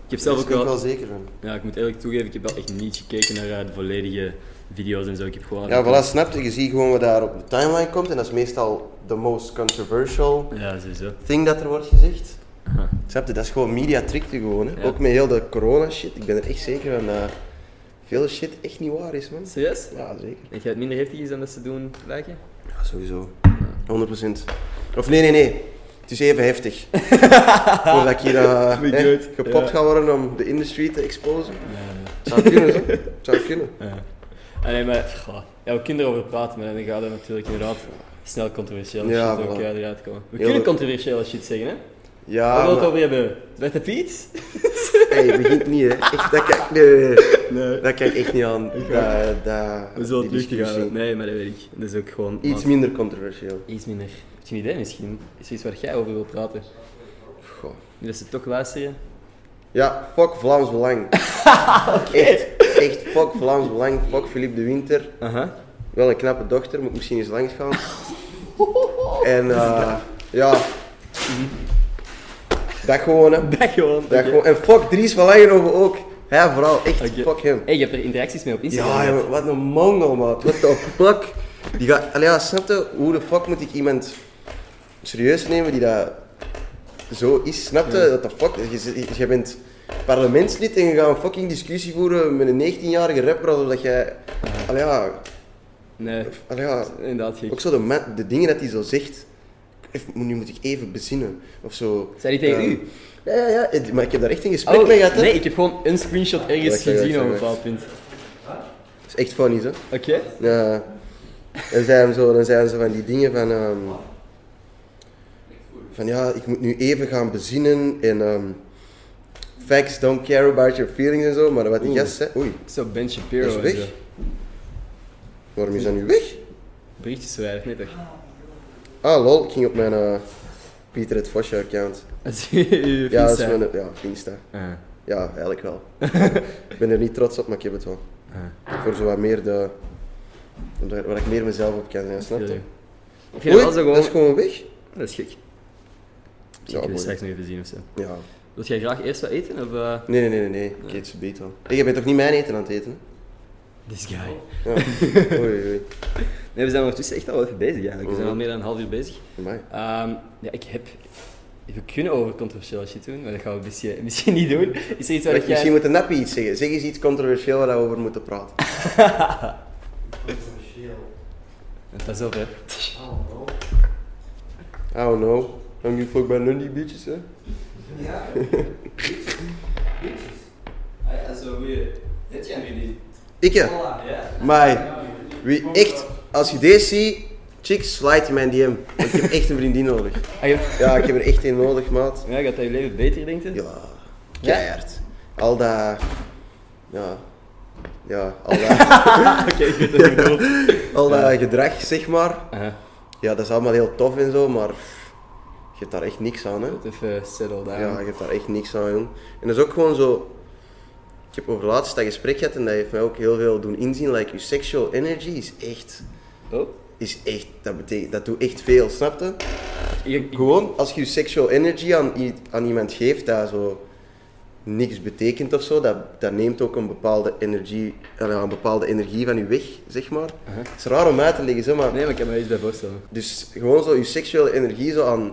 A: heb
B: daar
A: zelf
B: ben ik
A: ook
B: wel
A: wel...
B: zeker van.
A: Ja, ik moet eerlijk toegeven, ik heb wel echt niet gekeken naar eh, de volledige video's en zo. Ik heb gewoon...
B: Ja, voilà, snap je? Je ziet gewoon wat daar op de timeline komt en dat is meestal de most controversial
A: Ja, sowieso.
B: thing dat er wordt gezegd.
A: Aha.
B: Snap je? Dat is gewoon media trickte gewoon. Hè?
A: Ja.
B: Ook met heel de corona shit. Ik ben er echt zeker van dat veel shit echt niet waar is, man.
A: Serieus?
B: Ja, zeker.
A: Denk jij het minder heftig is dan dat ze doen lijken?
B: Ja, sowieso. 100%. Of nee, nee, nee. Het is even heftig. Voordat ik hier eh,
A: Met
B: hè,
A: jeugd,
B: gepopt
A: ja.
B: ga worden om de industry te exposen. Zou kunnen, zo. Zou kunnen.
A: Ah, nee, maar goh, ja, we kunnen erover praten, maar dan gaat er natuurlijk inderdaad snel controversiële
B: Ja,
A: shit ook
B: voilà.
A: eh, eruit komen. We
B: Heel
A: kunnen
B: de-
A: controversiële shit zeggen, hè? Waar
B: Ja,
A: wil je het
B: maar,
A: over hebben? Zwarte Piet?
B: hey, begint niet, hè. Echt, dat kijk, nee, nee, nee.
A: Nee.
B: Dat kijk ik echt niet aan. Dat, dat,
A: We zullen het luchtig
B: die discussie.
A: houden. Nee, maar dat weet ik. Dat is ook gewoon...
B: Iets
A: maar-
B: minder controversieel.
A: Iets minder. Heb je een idee misschien? Is er iets waar jij over wil praten?
B: Goh.
A: Nu dat ze toch luisteren?
B: Ja, fuck Vlaams Belang. echt, echt, fuck Vlaams Belang, fuck Philippe de Winter.
A: Aha.
B: Wel een knappe dochter, moet ik misschien eens langs gaan. en eh, ja, dat gewoon hè.
A: Dat gewoon.
B: Dat
A: oké.
B: gewoon. En fuck Dries van Langenhoven ook. Hij vooral, echt,
A: Oké.
B: fuck hem.
A: Hey, je hebt er interacties mee op Instagram.
B: Ja, jongen, wat een mongol, maat. What the fuck? Die gaat, allee, ja, snap je? Hoe de fuck moet ik iemand serieus nemen die dat zo is? Snap je? What the fuck? Je, zit- je bent parlementslid en je gaat een fucking discussie voeren met een 19-jarige rapper alsof dat jij... Allee, ja,
A: Nee,
B: allee, ja.
A: inderdaad gek.
B: Ook zo de, ma- de dingen dat hij zo zegt. Even- nu moet ik even bezinnen. Of zo.
A: Zei die tegen
B: Ehm,
A: u? Oh.
B: Ja, ja, ja. eh, Maar ik heb daar echt een gesprek mee gehad. hè.
A: nee, ik heb gewoon een screenshot ergens
B: Wacht, wacht,
A: gezien op een
B: wacht,
A: bepaald punt.
B: Dat is echt funny, zo.
A: Oké?
B: Ja. En zei hem zo, dan zijn ze van die dingen van. ehm, van ja, ik moet nu even gaan bezinnen en. ehm, facts don't care about your feelings en zo, maar wat die
A: Oeh.
B: gast zei. Oei,
A: Zo Ben Shapiro.
B: dat
A: en
B: is
A: zo.
B: weg. Waarom is dat nu weg?
A: Berichtjes verwijderd, nee toch?
B: Ah, lol, ik ging op mijn. eh, Pieter het Vosje account.
A: Dat is uw
B: Ah. Ja, dat is
A: vriend, hè?
B: mijn. Ja, Insta.
A: Ah,
B: Ja, eigenlijk wel. ik ben er niet trots op, maar ik heb het wel.
A: ah,
B: Voor zo wat meer de. Waar waar ik meer mezelf op kan zijn, snap
A: heel
B: je?
A: leuk. Ik vind het wel
B: Oei,
A: zo
B: dat is
A: gewoon...
B: gewoon weg?
A: Dat is gek.
B: Ja,
A: ik wil
B: mooi.
A: het straks nog even zien ofzo.
B: Ja.
A: Wil jij graag eerst wat eten? Of, eh,
B: Nee, nee, nee, nee, nee. Ik eet ze beet wel. Hey, jij bent toch niet mijn eten aan het eten?
A: This guy.
B: hè? Ja. oei, oei.
A: Nee, we zijn ondertussen echt al even bezig eigenlijk. We zijn al
B: Mhm.
A: meer dan een half uur bezig.
B: Amai.
A: Ehm, ja, ik heb... We kunnen over controversiële shit doen, maar dat gaan we misschien, misschien niet doen. Is er iets waar dat
B: Wacht,
A: jij...
B: Misschien moet de nappie iets zeggen. Zeg eens iets controversieel waar we over moeten praten.
A: Pas op, Ah, hè.
B: I don't know. Don't give a fuck by none of die bitches, hè?
A: Ah, dat is wel moeilijk. Dit jij niet.
B: Ik ja.
A: Ja.
B: Maar wie echt, als je deze ziet, chicks, slide in mijn DM. Want ik heb echt een vriendin nodig.
A: Ah, je-
B: Ja, ik heb er echt een nodig, maat.
A: ja, gaat dat je leven beter, denk je?
B: Ja, keihard. Al dat... Ja. Ja, al dat,
A: Oké, ik weet het niet.
B: al dat gedrag, zeg maar.
A: Aha,
B: Ja, dat is allemaal heel tof en zo, maar je hebt daar echt niks aan, hè.
A: moet even settle down.
B: Ja, je hebt daar echt niks aan, jong. En dat is ook gewoon zo... Ik heb over laatst dat gesprek gehad en dat heeft mij ook heel veel doen inzien. Like, je sexual energy is echt...
A: Oh,
B: Is echt dat, betekent, dat doet echt veel, snap je?
A: ik, ik,
B: Gewoon, als je je sexual energy aan, i- aan iemand geeft dat zo niks betekent of zo, dat, dat neemt ook een bepaalde energie, eh, een bepaalde energie van je weg, zeg maar. Het is raar om uit te leggen, zeg maar.
A: nee, maar ik kan me er iets bij voorstellen.
B: Dus gewoon zo je seksuele energie zo aan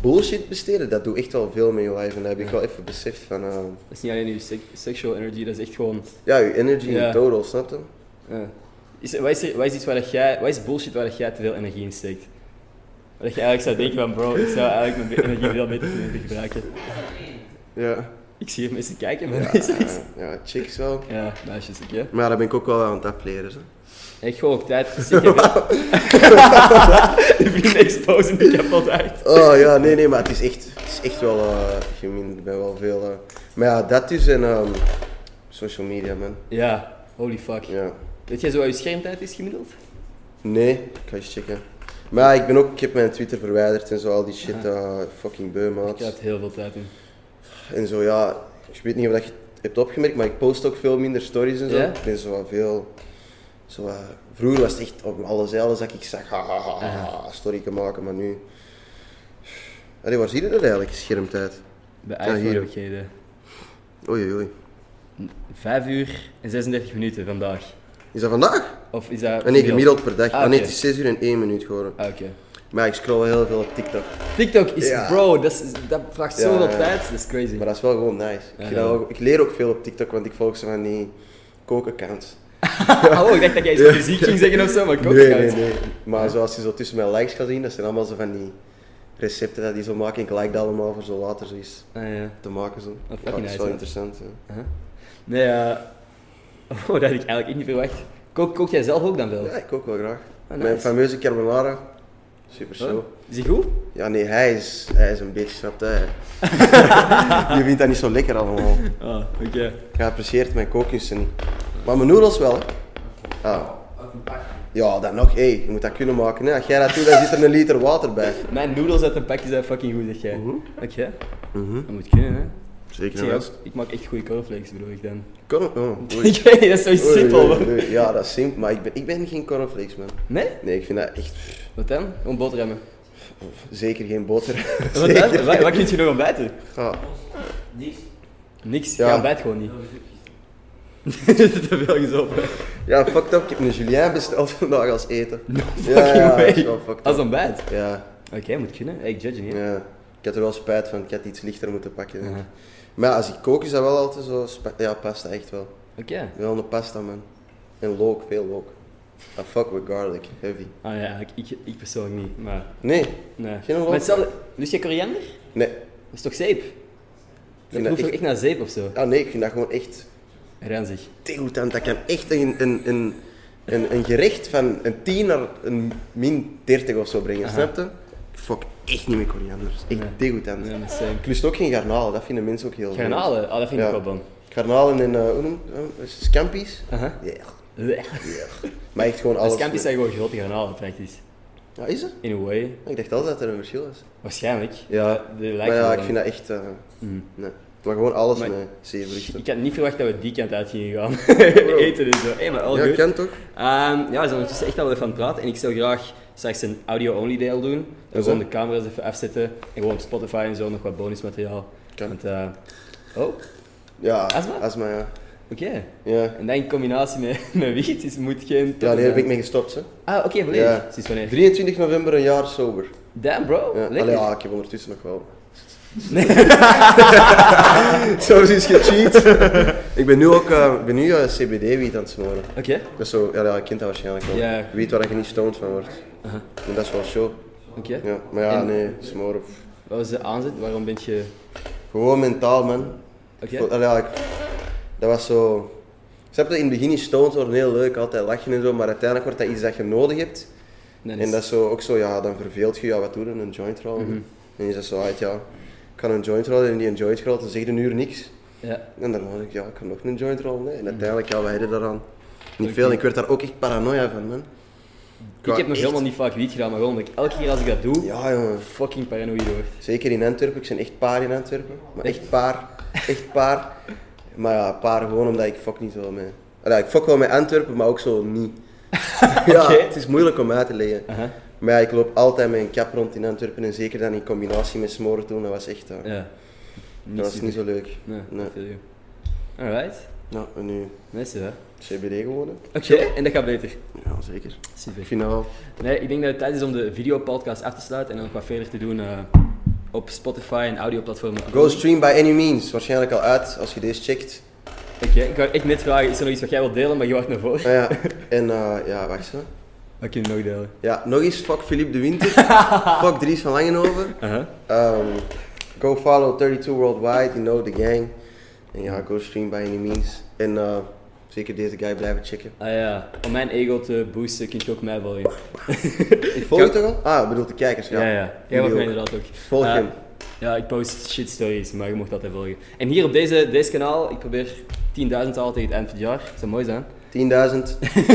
B: bullshit besteden, dat doet echt wel veel met je life. En dat heb ik wel even beseft van, eh,
A: Dat is niet alleen je sek- sexual energy, dat is echt gewoon...
B: ja, je energy
A: Ja.
B: in total, snap je?
A: eh. Is, er- wat, is er, wat is iets waar dat jij... Wat is bullshit waar dat jij te veel energie in steekt? Waar dat je eigenlijk zou denken van, bro, ik zou eigenlijk mijn energie veel beter kunnen gebruiken.
B: Ja.
A: Ik zie hier mensen kijken, maar dat is iets...
B: ja, chicks wel.
A: Ja, meisjes, ik ja.
B: Maar dat ben ik ook wel aan het afleren. Zo.
A: Ik gewoon ook tijd. Zeker wel. Die vrienden exposen die kapot uit.
B: Oh ja, nee, nee, maar het is echt, het is echt wel eh gemeen. Ik ben wel veel. eh, maar ja, dat is een ehm, social media, man.
A: Ja, holy fuck.
B: Ja.
A: Weet jij zo wat je schermtijd is gemiddeld?
B: Nee, ik ga eens checken. Maar ja, ik ben ook, ik heb mijn Twitter verwijderd en zo, al die shit, eh, fucking beu,
A: Ik
B: maat.
A: heb heel veel tijd in.
B: En zo ja, ik weet niet of dat je het hebt opgemerkt, maar ik post ook veel minder stories en zo.
A: Ja?
B: Ik ben zo wat veel Zo, eh, vroeger was het echt op alle zeilen dat ik zag, ha, ha, ha, ha, ha, story kan maken, maar nu... Allee, waar zie je dat eigenlijk, schermtijd?
A: Bij
B: Ja, hier.
A: iPhone-rokheden.
B: Oei, oei, oei.
A: 5 uur en 36 minuten vandaag.
B: Is dat vandaag?
A: Of is dat...
B: Ah, nee, gemiddeld per dag.
A: Ah,
B: Ah, nee,
A: oké.
B: het is 6 uur en 1 minuut geworden.
A: Ah, oké.
B: Maar ik scroll wel heel veel op TikTok.
A: TikTok is...
B: Ja.
A: Bro, dat, is- dat vraagt zoveel
B: ja.
A: tijd. Dat is crazy.
B: Maar dat is wel gewoon nice. Ik, vind
A: Ja.
B: dat wel- ik leer ook veel op TikTok, want ik volg ze van die kookaccounts.
A: oh, ik dacht dat jij iets van muziek ging zeggen of zo, maar ik ook
B: Nee,
A: niet.
B: nee, nee. Maar zoals je zo tussen mijn likes gaat zien, dat zijn allemaal zo van die recepten dat die zo maken. Ik like dat allemaal voor zo later zoiets
A: Ah, ja.
B: te maken. Zo.
A: fucking
B: Ja, dat is
A: nice,
B: wel
A: hè?
B: interessant. Ja.
A: Nee, eh, oh, dat had ik eigenlijk ook niet verwacht. Kook, kook jij zelf ook dan wel?
B: Ja, ik ook wel graag.
A: Ah, nice.
B: Mijn fameuze carbonara. Super show.
A: Oh, Is die goed?
B: Ja, nee, hij is, hij is een beetje, snapt hij. je vindt dat niet zo lekker allemaal.
A: Ah, oké.
B: Ik apprecieert mijn kookkunsten niet. Maar mijn noedels wel, hè. Ah. Ja, dan nog. Hé, je moet dat kunnen maken. Hè. Als jij dat doet, dan zit er een liter water bij.
A: Mijn noedels uit een pakje zijn fucking goed, zeg jij. Oké.
B: Mhm.
A: Dat moet kunnen, hè. Ik,
B: Zeker
A: zie ook, ik maak echt goede cornflakes, bedoel ik dan.
B: Kan ook. Oh, doei.
A: Ik weet niet, dat is zoiets
B: Oei,
A: simpel,
B: oei,
A: man.
B: oei. Ja, dat is simpel. Maar ik ben, ik ben geen cornflakes, man.
A: Nee?
B: Nee, ik vind dat echt pff,
A: Wat dan? Om boterhammen.
B: zeker geen boter. Ah.
A: Wat, dan? wat, wat kun je nog ontbijten?
B: Ja.
A: Niks,
B: Ja.
A: je ontbijt gewoon niet. Er zit te veel vis op.
B: ja, fucked up. Ik heb een Julien besteld vandaag als eten. No
A: Fucking
B: ja,
A: way.
B: dat is wel fucked
A: Als
B: up.
A: ontbijt?
B: Ja,
A: Oké, moet kunnen. Hey, ik judge niet. hè.
B: ja, ik had er wel spijt van. Ik had iets lichter moeten pakken. denk ik. Maar ja, als ik kook, is dat wel altijd zo. spa- Ja, pasta, echt wel.
A: Oké.
B: Wel een pasta, man. En look, veel look. I fuck with garlic, heavy.
A: Ah ja, ik, ik, ik persoonlijk niet, maar...
B: Nee,
A: Nee.
B: Geen
A: maar
B: rook.
A: hetzelfde... Lust je koriander?
B: nee.
A: Dat is toch zeep? Dat
B: vind
A: proeft
B: dat
A: toch
B: echt-
A: echt naar zeep of zo?
B: Ah nee, ik vind dat gewoon echt
A: Ranzig.
B: tegoedant. Dat kan echt een, een, een, een, een gerecht van een 10 naar een min 30 of zo brengen, snap je? Ik fuck echt niet met koriander. Dat is Echt
A: Nee.
B: tegoedant.
A: Ja, dat is zeep.
B: Ik lust ook geen garnalen, dat vinden mensen ook heel vreemd.
A: Garnalen? Ah, dat vind ik
B: Ja.
A: wel bon.
B: Garnalen en, eh, hoe noem eh, scampi's?
A: Aha.
B: Ja.
A: Blech.
B: Maar echt gewoon alles.
A: Scampi's Dus zijn gewoon grote garnalen, praktisch.
B: Ja, is het?
A: In a way.
B: Ik dacht altijd dat er een verschil is.
A: Waarschijnlijk.
B: Ja,
A: Die lijken
B: maar
A: wel
B: ja, ik
A: dan.
B: vind dat echt... eh, nee. Maar gewoon alles
A: Maar-
B: met zeevruchten.
A: Ik had niet verwacht dat we die kant uit gingen gaan. Eten en zo. Hé, maar al
B: Ja,
A: goed.
B: kan toch?
A: Ehm, ja, we zijn ondertussen echt al even aan het praten. En ik zou graag straks een audio-only deel doen. En
B: zo.
A: gewoon de camera's even afzetten. En gewoon op Spotify en zo nog wat bonusmateriaal.
B: Kan.
A: Want, eh, Oh,
B: Ja,
A: Astma?
B: astma, ja.
A: oké.
B: Ja,
A: En dan in combinatie met, met wiet, dus moet geen...
B: ja nee, daar ben ik mee gestopt. Hè.
A: Ah, oké, volledig.
B: Ja.
A: Sinds wanneer?
B: 23 november, een jaar sober.
A: Damn, bro.
B: Ja,
A: Lekker.
B: allee, ja, ik heb ondertussen nog wel. zo is gecheat. ik ben nu ook eh, ik ben nu, CBD-wiet aan het smoren.
A: Oké.
B: Dat is zo, ja, ja, je kent dat waarschijnlijk wel.
A: Ja.
B: Wiet waar je niet stoned van wordt. En dat is wel show.
A: Oké.
B: Ja, maar ja,
A: En-
B: nee, smoren. pff.
A: Wat was de aanzet? Waarom ben je...
B: Gewoon mentaal, man.
A: Oké.
B: Vo- allee, ja, ik- dat was zo... Snap je, in het begin is stoned worden heel leuk, altijd lachen en zo, maar uiteindelijk wordt dat iets dat je nodig hebt.
A: Dan is- Mhm.
B: En dat is zo, ook zo, ja, dan verveelt je, ja, wat doen een joint roll? En je zegt zo, uit, ja, ik kan een joint rollen en die een joint rolt, dan zegt een uur niks.
A: Ja.
B: En dan dacht ik, ja, ik kan nog een joint rollen.
A: Mhm.
B: hè. En uiteindelijk, ja, wij hadden daaraan niet veel. En ik werd daar ook echt paranoia van, man.
A: Ik heb nog
B: echt-
A: helemaal niet vaak wiet gedaan, maar gewoon dat ik elke keer als ik dat doe,
B: Ja, jongen.
A: fucking paranoïde word.
B: Zeker in Antwerpen, ik zijn echt paar in Antwerpen. Maar echt paar, echt paar. Maar ja, paar gewoon omdat ik fuck niet zo mee. Ja, ik fuck wel met Antwerpen, maar ook zo niet. ja,
A: Oké.
B: het is moeilijk om uit te leggen.
A: Aha.
B: Maar ja, ik loop altijd met een kap rond in Antwerpen en zeker dan in combinatie met smoren toen, dat was echt... eh,
A: Ja. Niet
B: dat was
A: super.
B: niet zo leuk.
A: Nee,
B: Nee.
A: dat feel you. Alright.
B: Nou, en nu
A: Nice, hè?
B: CBD gewoon. hè.
A: Oké, en dat gaat beter.
B: Ja, zeker. Ik
A: Super.
B: vind dat wel...
A: Nee, ik denk dat het tijd is om de videopodcast af te sluiten en dan nog wat verder te doen eh, op Spotify en audioplatformen.
B: Go stream by any means. Waarschijnlijk al uit als je deze checkt.
A: Oké, ik wou echt net vragen, is er nog iets wat jij wilt delen, maar je wacht naar voren.
B: Ah, ja. En eh, ja, wacht zo.
A: Wat kun je nog delen?
B: Ja, nog eens, fuck Philippe de Winter. fuck Dries van Langenhoven.
A: Aha.
B: Um, go follow 32 Worldwide, you know the gang. En ja, go stream by any means. En eh, zeker deze guy blijven checken.
A: Ah ja, om mijn ego te boosten kun je ook mij volgen.
B: Ik volg je toch al? Ah, ik bedoel de kijkers, ja.
A: Ja, ja. Jij mag
B: Jullie
A: mij
B: ook.
A: inderdaad ook.
B: Volg
A: Eh,
B: hem.
A: Ja, ik post shit stories, maar je mocht altijd volgen. En hier op deze, deze kanaal, ik probeer 10.000 te halen tegen het eind van het jaar. Zou mooi zijn.
B: 10.000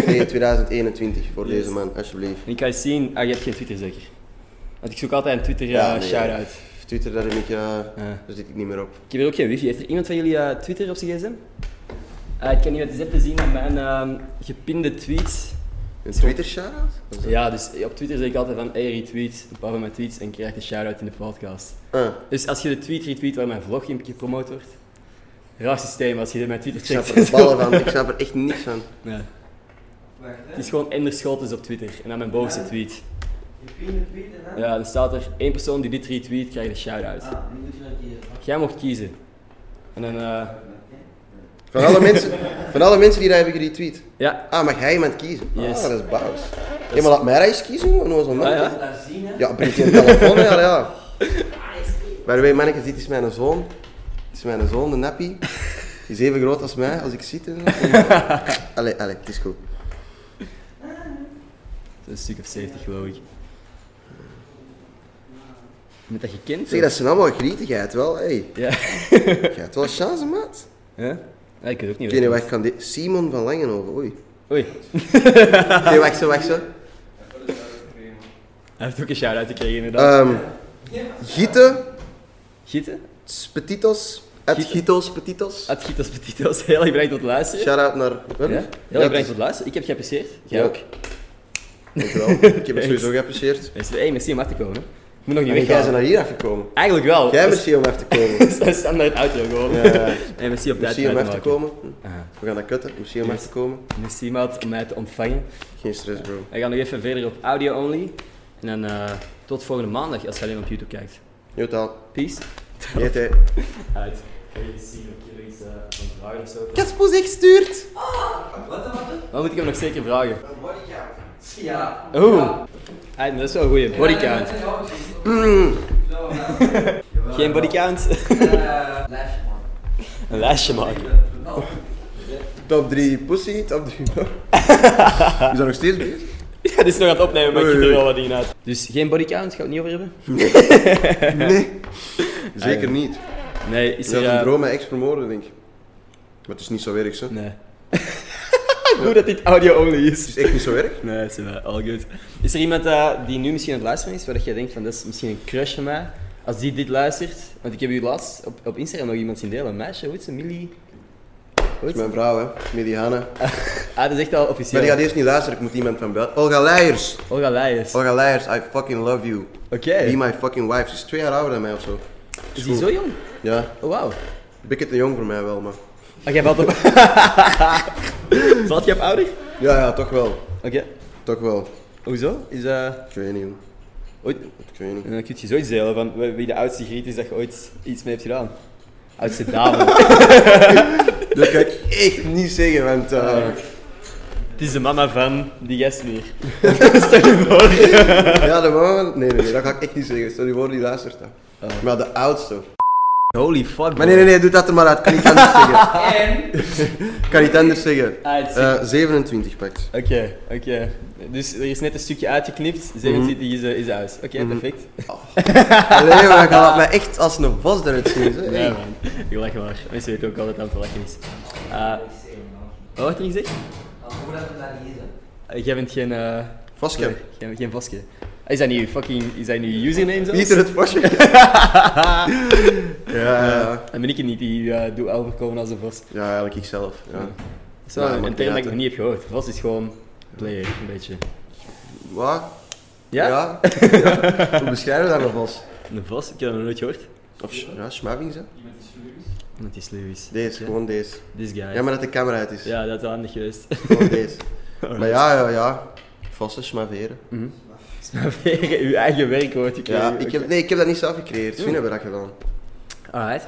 B: tegen 2021 voor
A: Yes.
B: deze man, alsjeblieft.
A: En ik ga eens zien, ah, je hebt geen Twitter zeker? Want ik zoek altijd een Twitter eh,
B: Ja, nee.
A: shout-out.
B: Twitter, daar, heb ik, eh, daar zit ik niet meer op.
A: Ik heb hier ook geen wifi. Heeft er iemand van jullie eh, Twitter op zijn gsm? Eh, ik kan hier eens even zien naar mijn ehm, gepinde tweets.
B: Een Twitter shout-out?
A: Ja, dus op Twitter zeg ik altijd van hey, retweet een paar van mijn tweets en krijg een shout-out in de podcast.
B: Ah,
A: Dus als je de tweet retweet waar mijn vlog in gepromoot wordt, raar systeem als je mijn Twitter
B: ik snap
A: checkt.
B: er ballen van, ik snap er echt niks van.
A: Nee. Het is gewoon Ender Scholtes op Twitter en dan mijn bovenste tweet. Ja, dan staat er één persoon die dit retweet krijgt een shout-out.
B: Ah,
A: Jij mocht kiezen. En dan, eh,
B: Van alle mensen, van alle mensen die daar hebben geretweet.
A: ja,
B: Ah, mag hij iemand kiezen?
A: Yes.
B: Ah, dat is baas. Ja, maar laat mij eens kiezen, gewoon zo'n man.
A: Ah, ja.
B: Ja, brengt je een telefoon, ja, ja. By the way, mannetjes, dit is mijn zoon. Dit is mijn zoon, de nappie. Die is even groot als mij, als ik zit. en zo. Allee, allee, het is goed.
A: dat is een stuk of 70 geloof ik. Met dat je kind?
B: Zeg, dat zijn allemaal grietigheid wel, hey.
A: Ja.
B: Je hebt wel chance, maat.
A: ja? Ja, Ik weet het ook niet.
B: Ik weet niet wat ik kan dit... Simon van Langenhoven, oei.
A: Oei,
B: Nee, wacht zo, wacht zo.
A: hij heeft ook een shout-out gekregen inderdaad.
B: Ehm Gieten,
A: Gieten?
B: Petitos, Ed
A: Gieten.
B: Gitos, Petitos.
A: Ad Gietas Petitos, heel erg bedankt voor het luisteren.
B: Shout-out naar... Wat?
A: Ja? Heel erg bedankt voor het luisteren. Ik heb geapprecieerd. Jij
B: dus- Ja.
A: ook.
B: Dankjewel. Ik heb het sowieso geapprecieerd.
A: Mensen, hey, merci om af te komen. hè. Ik moet nog niet
B: En jij bent
A: weggaan.
B: naar hier afgekomen.
A: Eigenlijk wel. Dus-
B: Jij
A: Dat
B: merci om af te komen.
A: is- Dat is standaard outro gewoon.
B: Ja.
A: En merci op tijd
B: Merci om
A: mij
B: af te
A: maken.
B: komen.
A: Aha.
B: We gaan dat kutten. Merci om af te komen.
A: Merci maat om mij te ontvangen.
B: Geen stress, bro.
A: Wij gaan nog even verder op audio only. En dan eh, tot volgende maandag als je alleen op YouTube kijkt.
B: Jotaal.
A: Peace.
B: Jeet, hè.
A: Uit. Ga je eens zien of je er iets eh, aan vragen of zo?
B: Kaspoes echt stuurt.
A: Wat moet ik hem nog zeker vragen? Een bodycount. Ja. Oeh. Hey, dat is wel een goeie. Bodycount. Geen bodycount? Eh, Een lijstje maken.
B: Top 3 pussy, top 3 Is dat nog steeds bezig?
A: Ja, dit is nog aan het opnemen, maar ik
B: Oei,
A: er
B: oei.
A: wel wat dingen uit. Dus geen bodycount? Gaan we het niet over hebben?
B: Nee.
A: Ah,
B: Zeker niet.
A: Nee, is
B: Dat
A: er...
B: is
A: eh,
B: een droom mij ex vermoorden, denk ik. Maar het is niet zo erg, zo.
A: Nee. Goed dat dit audio only
B: Het
A: is.
B: is echt niet zo erg.
A: Nee, is wel all good. Is er iemand eh, die nu misschien aan het luisteren is, waar dat jij denkt van dat is misschien een crush van mij? Als die dit luistert, want ik heb u laatst op, op Instagram nog iemand zien delen, een meisje, hoe heet ze? Millie? Hoe heet
B: Dat is
A: ze?
B: mijn vrouw, hè. Mediana.
A: Ah, dat is echt al
B: Maar die
A: officieel. Oh,
B: gaat eerst niet luisteren, ik moet iemand van buiten. Olga Leijers!
A: Olga Leijers. Oké.
B: Olga Leijers, I fucking love you. Be my fucking wife. Ze is twee jaar ouder dan mij of zo.
A: Is die zo jong?
B: Ja.
A: Oh, wauw.
B: Bikke te jong voor mij wel, maar...
A: Oké, Oh, jij valt op... Valt je op ouder?
B: Ja, ja, toch wel.
A: Oké.
B: Toch wel.
A: Hoezo? Is eh
B: Ik weet niet, man.
A: ooit...
B: Ik weet niet.
A: En dan kun je zoiets delen van wie wie de oudste griet is dat je ooit iets mee hebt gedaan. Oudste dame.
B: Dat kan ik echt niet zeggen, want... eh,
A: Het is de mama van die gast hier. Stel je voor.
B: ja, de mama... Nee, nee, nee, dat ga ik echt niet zeggen. Stel je voor, die luistert dan. Maar de oudste.
A: Holy fuck.
B: Ah. Maar nee, nee, nee, doe dat er maar uit. Kan niet anders zeggen. Kan niet anders zeggen.
A: Ah, het is-
B: Eh, 27 pakt.
A: Oké, oké. Dus er is net een stukje uitgeknipt.
B: Mhm.
A: 27 is, eh, is uit. Oké, perfect.
B: Nee, maar ik laat mij echt als een vos eruit zien. Zo.
A: Ja, man. Ik lach maar. Mensen weten ook altijd dat het aan het lachen is. Eh, wat wordt er gezegd? Eh, Jij bent geen... eh
B: Voske.
A: nee, jij bent geen Voske. Ah, Is dat nu fucking... Is dat nu je username zelfs?
B: Pieter het vosje. ja, ja, ja.
A: Dan ben ik het niet die eh, doe overkomen als een Vos.
B: Ja, eigenlijk ikzelf. Ja.
A: Dat is wel
B: Ja,
A: een
B: maakt
A: term
B: niet
A: dat ik nog
B: uit, hè.
A: niet heb gehoord. Vos is gewoon player, een beetje.
B: Wat?
A: Ja?
B: Ja. Hoe beschrijven we dat nog vos?
A: Een Vos? Ik heb dat nog nooit gehoord.
B: Of sch- ja, schmabbing ze?
A: Want die is Lewis.
B: Deze, gewoon deze.
A: This guy.
B: Ja, maar dat de camera uit is.
A: Ja, Oh, dat is handig geweest.
B: Gewoon deze. Maar ja, ja, ja. Vossen schmaveren.
A: Smaveren, uw eigen werkwoord. Ik
B: Ja,
A: weet-
B: ik heb, nee, ik heb dat niet zelf gecreëerd. Vrienden hebben dat gedaan.
A: Alright.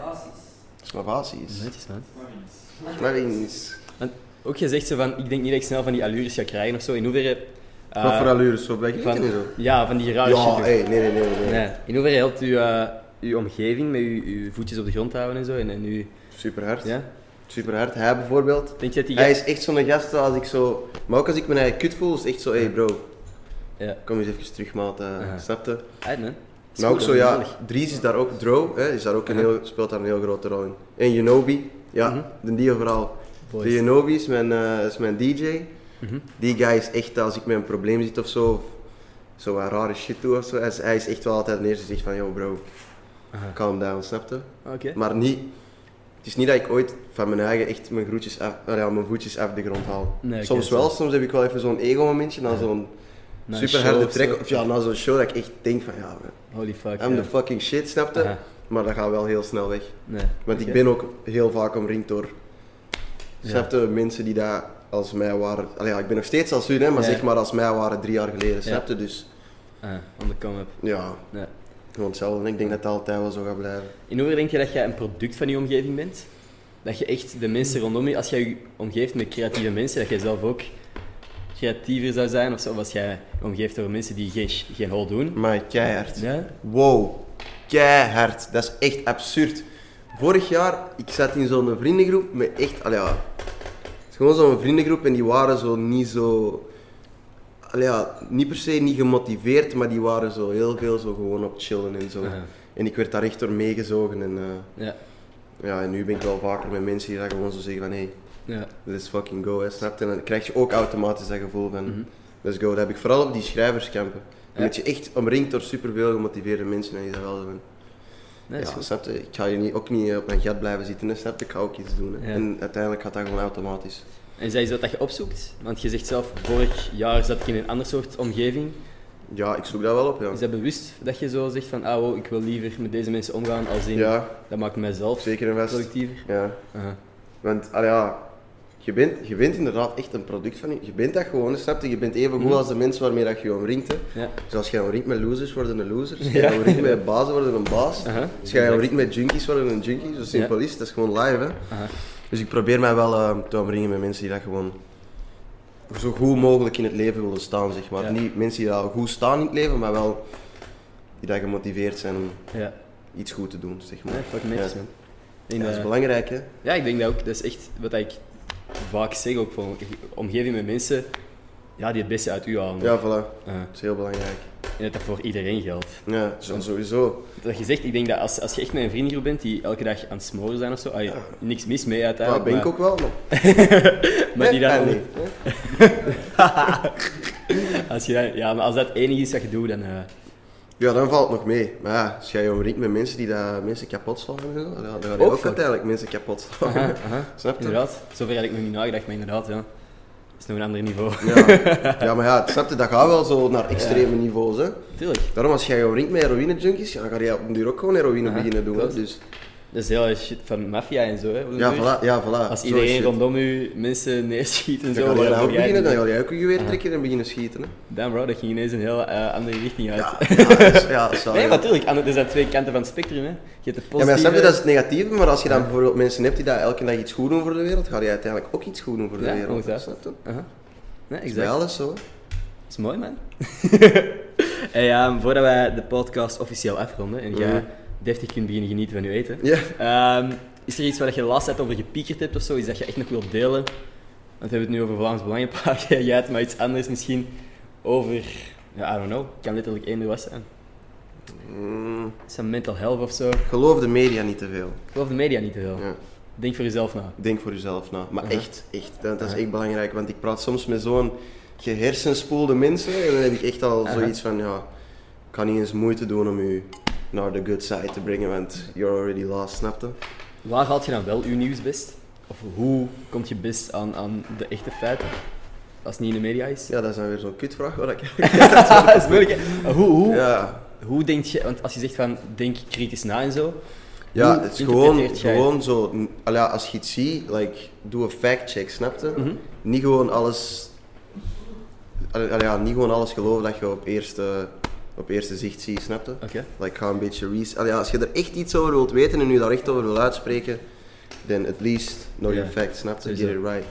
B: Schmavaties.
A: Netjes, man. Mhm.
B: Schmavings.
A: Want ook je zegt zo van, ik denk niet dat ik snel van die allures ga krijgen of zo. In hoeverre... eh,
B: Wat voor allures, zo blijkt
A: van-
B: het niet zo.
A: Ja, van die rare shit.
B: Ja,
A: toch?
B: hey, nee, nee, nee, nee.
A: Nee. In hoeverre helpt u, eh, uw omgeving met uw, uw voetjes op de grond houden en zo? En, en uw...
B: Super hard.
A: Ja?
B: Super hard. Hij bijvoorbeeld.
A: Denk je dat die...
B: Hij is echt zo'n gast als ik zo. Maar ook als ik mijn eigen kut voel, is het echt zo, hey bro,
A: Ja.
B: kom eens even terug, maat. eh,
A: Ja.
B: Snap je?
A: Uit, man. Is
B: Maar ook
A: goed,
B: zo,
A: dat is
B: ja,
A: nodig.
B: Dries is daar ook, Dro hè, is daar ook een heel, speelt daar een heel grote rol in. En Yonobi, ja, de die vooral.
A: Mhm. Boys. Mhm.
B: De Yonobi is mijn, eh, is mijn DJ. Die guy is echt, als ik met een probleem zit of zo, of zo wat rare shit doe of zo, hij is, hij is echt wel altijd de eerste die zegt van, yo bro, calm down, snap je?
A: Oké.
B: Maar niet, Het is niet dat ik ooit van mijn eigen echt mijn, groetjes af, nou ja, mijn voetjes af de grond haal.
A: Nee, ik
B: soms
A: weet het.
B: wel, soms heb ik wel even zo'n ego-momentje na zo'n
A: Na een
B: super harde
A: show of
B: track.
A: zo.
B: Of ja, na zo'n show dat ik echt denk van ja, man,
A: Holy fuck.
B: I'm
A: ja.
B: the fucking shit, snapte?
A: Aha.
B: Maar dat gaat wel heel snel weg.
A: Nee.
B: Want ik
A: Oké.
B: ben ook heel vaak omringd door
A: Ja.
B: snapte, mensen die daar als mij waren. Allee, ja, ik ben nog steeds als hun, hè, maar
A: Ja.
B: zeg maar als mij waren drie jaar geleden, snapte? Dus
A: Ah, on the come-up.
B: ja,
A: Nee.
B: gewoon hetzelfde. Ik denk dat het altijd wel zo gaat blijven.
A: In hoeverre denk je dat jij een product van je omgeving bent? Dat je echt de mensen rondom je, als jij je omgeeft met creatieve mensen, dat jij zelf ook creatiever zou zijn of zo, of als jij je omgeeft door mensen die geen, sh- geen hol doen.
B: Maar keihard.
A: Ja?
B: Wow, keihard. Dat is echt absurd. Vorig jaar, ik zat in zo'n vriendengroep met echt, allee, ja, het is gewoon zo'n vriendengroep en die waren zo niet zo, allee, ja, niet per se niet gemotiveerd, maar die waren zo heel veel zo gewoon op chillen en zo.
A: Aha.
B: En ik werd daar echt door meegezogen en eh,
A: Ja.
B: ja, en nu ben ik wel vaker met mensen die daar gewoon zo zeggen van hé, hey,
A: Ja.
B: let's fucking go, hè, snap je? En dan krijg je ook automatisch dat gevoel van let's go. Dat heb ik vooral op die schrijverskampen. Dan
A: Mhm. Ja.
B: ben je echt omringd door superveel gemotiveerde mensen en die zijn wel zo van
A: Nee, is
B: ja,
A: goed.
B: snap je? Ik ga hier niet, ook niet eh, op mijn gat blijven zitten, hè, snap je? Ik ga ook iets doen. hè.
A: Ja.
B: En uiteindelijk gaat dat gewoon automatisch.
A: En is dat iets wat dat je opzoekt? Want je zegt zelf, vorig jaar zat ik in een ander soort omgeving.
B: Ja, ik zoek dat wel op, ja.
A: Is dat bewust dat je zo zegt van, ah, wow, ik wil liever met deze mensen omgaan als in,
B: Ja,
A: dat maakt mijzelf
B: zeker en vast.
A: productiever?
B: Ja.
A: Aha.
B: Want, ah ja, je bent, je bent inderdaad echt een product van je. Je bent dat gewoon, hè, snap je? Je bent even goed als de mensen waarmee dat je je omringt. Hè.
A: Mhm. Ja.
B: Dus als jij omringt met losers, worden een losers. Als jij omringt met bazen, worden een baas.
A: Aha.
B: Als jij omringt met junkies, worden een junkie. Zo simpel is het. Dat is gewoon live, hè.
A: Aha.
B: Dus ik probeer mij wel eh, te omringen met mensen die dat gewoon zo goed mogelijk in het leven willen staan, zeg maar.
A: Ja.
B: Niet mensen die al goed staan in het leven, maar wel die dat gemotiveerd zijn om
A: Ja.
B: iets goed te doen, zeg maar.
A: Nee, fuck netjes,
B: Ja.
A: man.
B: Ja,
A: In,
B: dat is
A: eh,
B: belangrijk, hè.
A: Ja, ik denk dat ook. Dat is echt wat ik vaak zeg, ook voor omgeving met mensen ja, die het beste uit u halen.
B: Ja, voilà.
A: Eh,
B: Dat is heel belangrijk.
A: en dat dat voor iedereen geldt.
B: Ja, zo- sowieso.
A: Dat je zegt, ik denk dat als, als je echt met een vriendengroep bent die elke dag aan het smoren zijn of zo, ah, ja, niks mis mee
B: Ja,
A: uiteindelijk.
B: ben ik ook wel, maar...
A: maar, maar die
B: Nee,
A: dan,
B: ah, nee.
A: als je dan- ja, maar als dat het enige is wat je doet, dan. eh,
B: Ja, dan valt het nog mee. Maar ja, als jij je omringt met mensen die dat mensen kapot slaan, en zo, dan dan ga je
A: Ook
B: ook,
A: fuck.
B: uiteindelijk mensen kapot slaan.
A: aha, aha.
B: Snap je?
A: Inderdaad, zover had ik nog niet nagedacht, maar inderdaad, ja. Dat is nog een ander niveau.
B: Ja. ja, maar ja, snap je? Dat gaat wel zo naar extreme niveaus, hè.
A: Tuurlijk,
B: Daarom, als jij je omringt met heroïne-junkies, ja, dan ga je op den duur ook gewoon heroïne
A: Aha,
B: beginnen doen. hè.
A: klopt.
B: Dus,
A: dat is heel erg shit van maffia en zo. Hè, op de
B: ja,
A: duur.
B: voilà, ja, voilà.
A: Als
B: Zo is
A: iedereen
B: het.
A: rondom u mensen neerschiet en
B: Dan
A: zo.
B: ga jij dat
A: waarvoor
B: ook
A: jij
B: beginnen,
A: niet-
B: dan ga jij ook je geweer trekken en beginnen schieten. Hè.
A: Damn bro, dat ging ineens een heel eh, andere richting uit.
B: Ja, ja, dus- ja, sorry.
A: nee, natuurlijk. Er zijn twee kanten van het spectrum. Hè. Je hebt de
B: Ja,
A: positieve...
B: maar snap je, dat is het negatieve, maar als je dan bijvoorbeeld mensen hebt die daar elke dag iets goed doen voor de wereld, ga je uiteindelijk ook iets goed doen voor de
A: Ja,
B: wereld.
A: ongetwijfeld.
B: Snap je? Dat
A: Aha. Nee,
B: is
A: exact.
B: bij alles zo. hè.
A: Dat is mooi, man. hey, ja, voordat wij de podcast officieel afronden en jij
B: Mhm.
A: deftig kunt beginnen genieten van je eten.
B: Ja.
A: ehm, is er iets waar je last hebt over gepiekerd hebt of zo? Iets dat je echt nog wilt delen? Want we hebben het nu over Vlaams Belangenpark. jij hebt maar iets anders misschien over... Ja, I don't know. kan letterlijk één was zijn.
B: Mm,
A: Is dat mental health of zo?
B: geloof de media niet te veel.
A: Ik geloof de media niet te veel.
B: Ja.
A: Denk voor jezelf na.
B: Denk voor jezelf na. Maar
A: Aha.
B: echt, echt. Dat, dat is
A: Aha.
B: echt belangrijk, want ik praat soms met zo'n gehersenspoelde mensen en dan heb ik echt al
A: Aha.
B: zoiets van, ja, ik kan niet eens moeite doen om u naar de good side te brengen, want you're already lost, snapte?
A: Waar haalt je dan wel je nieuws best? Of hoe komt je best aan, aan de echte feiten? Als het niet in de media is.
B: Ja, dat is dan weer zo'n kutvraag. Waar ik...
A: dat is moeilijk. hè? Hoe, hoe,
B: ja,
A: hoe denk je, want als je zegt van denk kritisch na en zo.
B: ja
A: hoe
B: het is gewoon,
A: interpreteert jij-
B: gewoon zo, n- al ja, als je iets ziet, like, doe een fact-check, snapte?
A: Mhm.
B: Niet gewoon alles... al- al ja, niet gewoon alles geloven dat je op eerste, op eerste zicht ziet, snapte?
A: Oké.
B: Like, ga een beetje research. Allee, als je er echt iets over wilt weten en je daar echt over wil uitspreken, then at least know your
A: Ja.
B: facts, snap je?
A: Sowieso.
B: Get it right.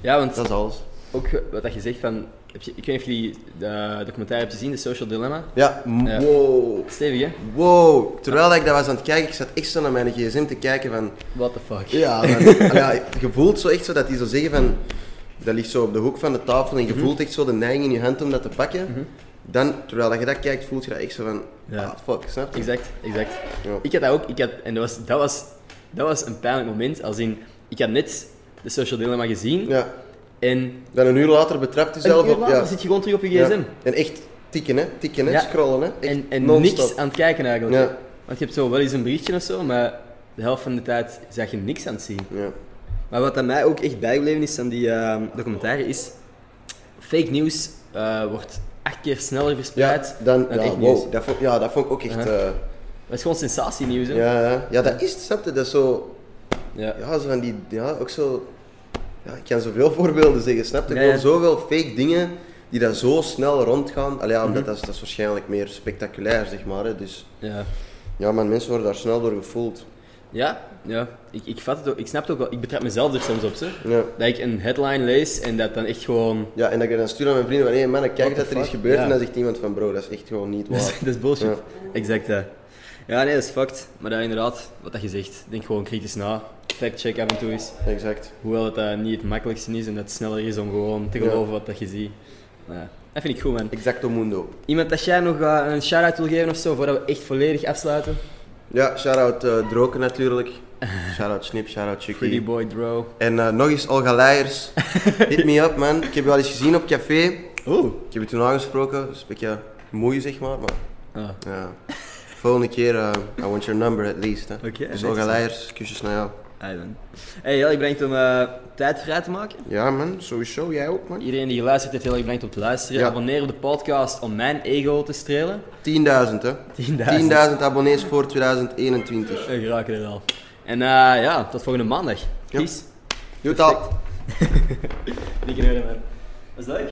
A: Ja, want
B: Dat is alles.
A: ook wat dat je zegt van. Heb je, ik weet niet of jullie de documentaire hebben gezien, de Social Dilemma.
B: Ja, m-
A: Ja.
B: wow.
A: Stevig hè?
B: Wow. Terwijl ik dat was aan het kijken, ik zat echt zo naar mijn gsm te kijken van...
A: What the fuck.
B: Ja, man. Allee, ja, je voelt zo echt zo dat die zo zeggen van... Dat ligt zo op de hoek van de tafel en je
A: Mhm.
B: voelt echt zo de neiging in je hand om dat te pakken. Dan, terwijl dat je dat kijkt, voelt je dat echt zo van...
A: Ja.
B: Ah, fuck, snap je?
A: Exact, exact.
B: Ja.
A: Ik had dat ook, ik had, en dat was, dat, was, dat was een pijnlijk moment. Als in, ik had net de Social Dilemma gezien
B: Ja.
A: en
B: Dan een uur later betrapt jezelf
A: Een uur
B: op...
A: later
B: ja.
A: zit je gewoon terug op je
B: Ja.
A: gsm.
B: En echt tikken, hè? Tikken, hè?
A: Ja.
B: Scrollen, hè? Echt
A: En, en
B: non-stop.
A: niks aan het kijken eigenlijk.
B: Ja.
A: Want je hebt zo wel eens een berichtje of zo, maar de helft van de tijd zag je niks aan het zien.
B: Ja.
A: Maar wat aan mij ook echt bijgebleven is aan die ehm, documentaire is... Fake nieuws eh, wordt acht keer sneller verspreid
B: dan,
A: dan
B: ja,
A: echt nieuws.
B: wow, dat vond, ja, dat vond ik ook echt...
A: Ja.
B: eh,
A: Dat is gewoon sensatienieuws, hè?
B: ja, ja. ja, dat is het, snap je? Dat is zo...
A: Ja.
B: Ja, zo van die... Ja, ook zo... Ja, ik kan zoveel voorbeelden zeggen, snap je?
A: Ja,
B: Er
A: ja.
B: zijn zoveel fake dingen die dan zo snel rondgaan. Allee, ja,
A: Mhm.
B: omdat dat, is, dat is waarschijnlijk meer spectaculair, zeg maar. Hè. Dus
A: Ja.
B: ja, maar mensen worden daar snel door gevoeld.
A: Ja, ja. Ik, ik vat het ook. Ik snap het ook wel. Ik betrap mezelf er soms op, zeg.
B: Ja.
A: Dat ik een headline lees en dat dan echt gewoon...
B: Ja, en dat ik dan stuur aan mijn vrienden van, hé mannen, kijk
A: What the
B: dat er iets
A: fuck?
B: gebeurd
A: Ja.
B: en dan zegt iemand van, bro, dat is echt gewoon niet
A: Dat is,
B: waar.
A: dat is bullshit.
B: Ja.
A: Exact, ja. Ja, nee, dat is fucked. Maar dat inderdaad, wat dat je zegt, denk gewoon kritisch na. Fact-check af en toe eens.
B: exact.
A: Hoewel het eh, niet het makkelijkste is en dat het sneller is om gewoon te
B: Ja.
A: geloven wat dat je ziet. Maar ja, dat vind ik goed, man.
B: Exacto mundo.
A: Iemand dat jij nog eh, een shout-out wil geven of zo, voordat we echt volledig afsluiten?
B: Ja, shout-out eh, Droken natuurlijk. Shout-out Snip, shout-out Chucky.
A: Pretty boy, bro.
B: En eh, nog eens Olga Leijers. Hit me up, man. Ik heb je wel eens gezien op café.
A: Oeh.
B: Ik heb je toen aangesproken. Dus een beetje moe, zeg maar. maar
A: Ah.
B: ja. Volgende keer, eh, I want your number at least. Hè.
A: Oké,
B: dus
A: netjes.
B: Olga Leijers, kusjes naar jou.
A: Hey, man. Hey, heel erg bedankt om eh, tijd vrij te maken.
B: Ja, man. Sowieso. Jij ook, man. 10.000.
A: Iedereen die geluisterd heeft, heel erg bedankt om te luisteren.
B: Ja.
A: Abonneer op de podcast om mijn ego te strelen. 10.000.
B: hè. 10.000
A: We
B: abonnees voor 2021.
A: geraken er wel. En eh, ja, tot volgende maandag.
B: Ja.
A: Peace.
B: Doe het al.
A: Dikke neuren, man. Dat is leuk.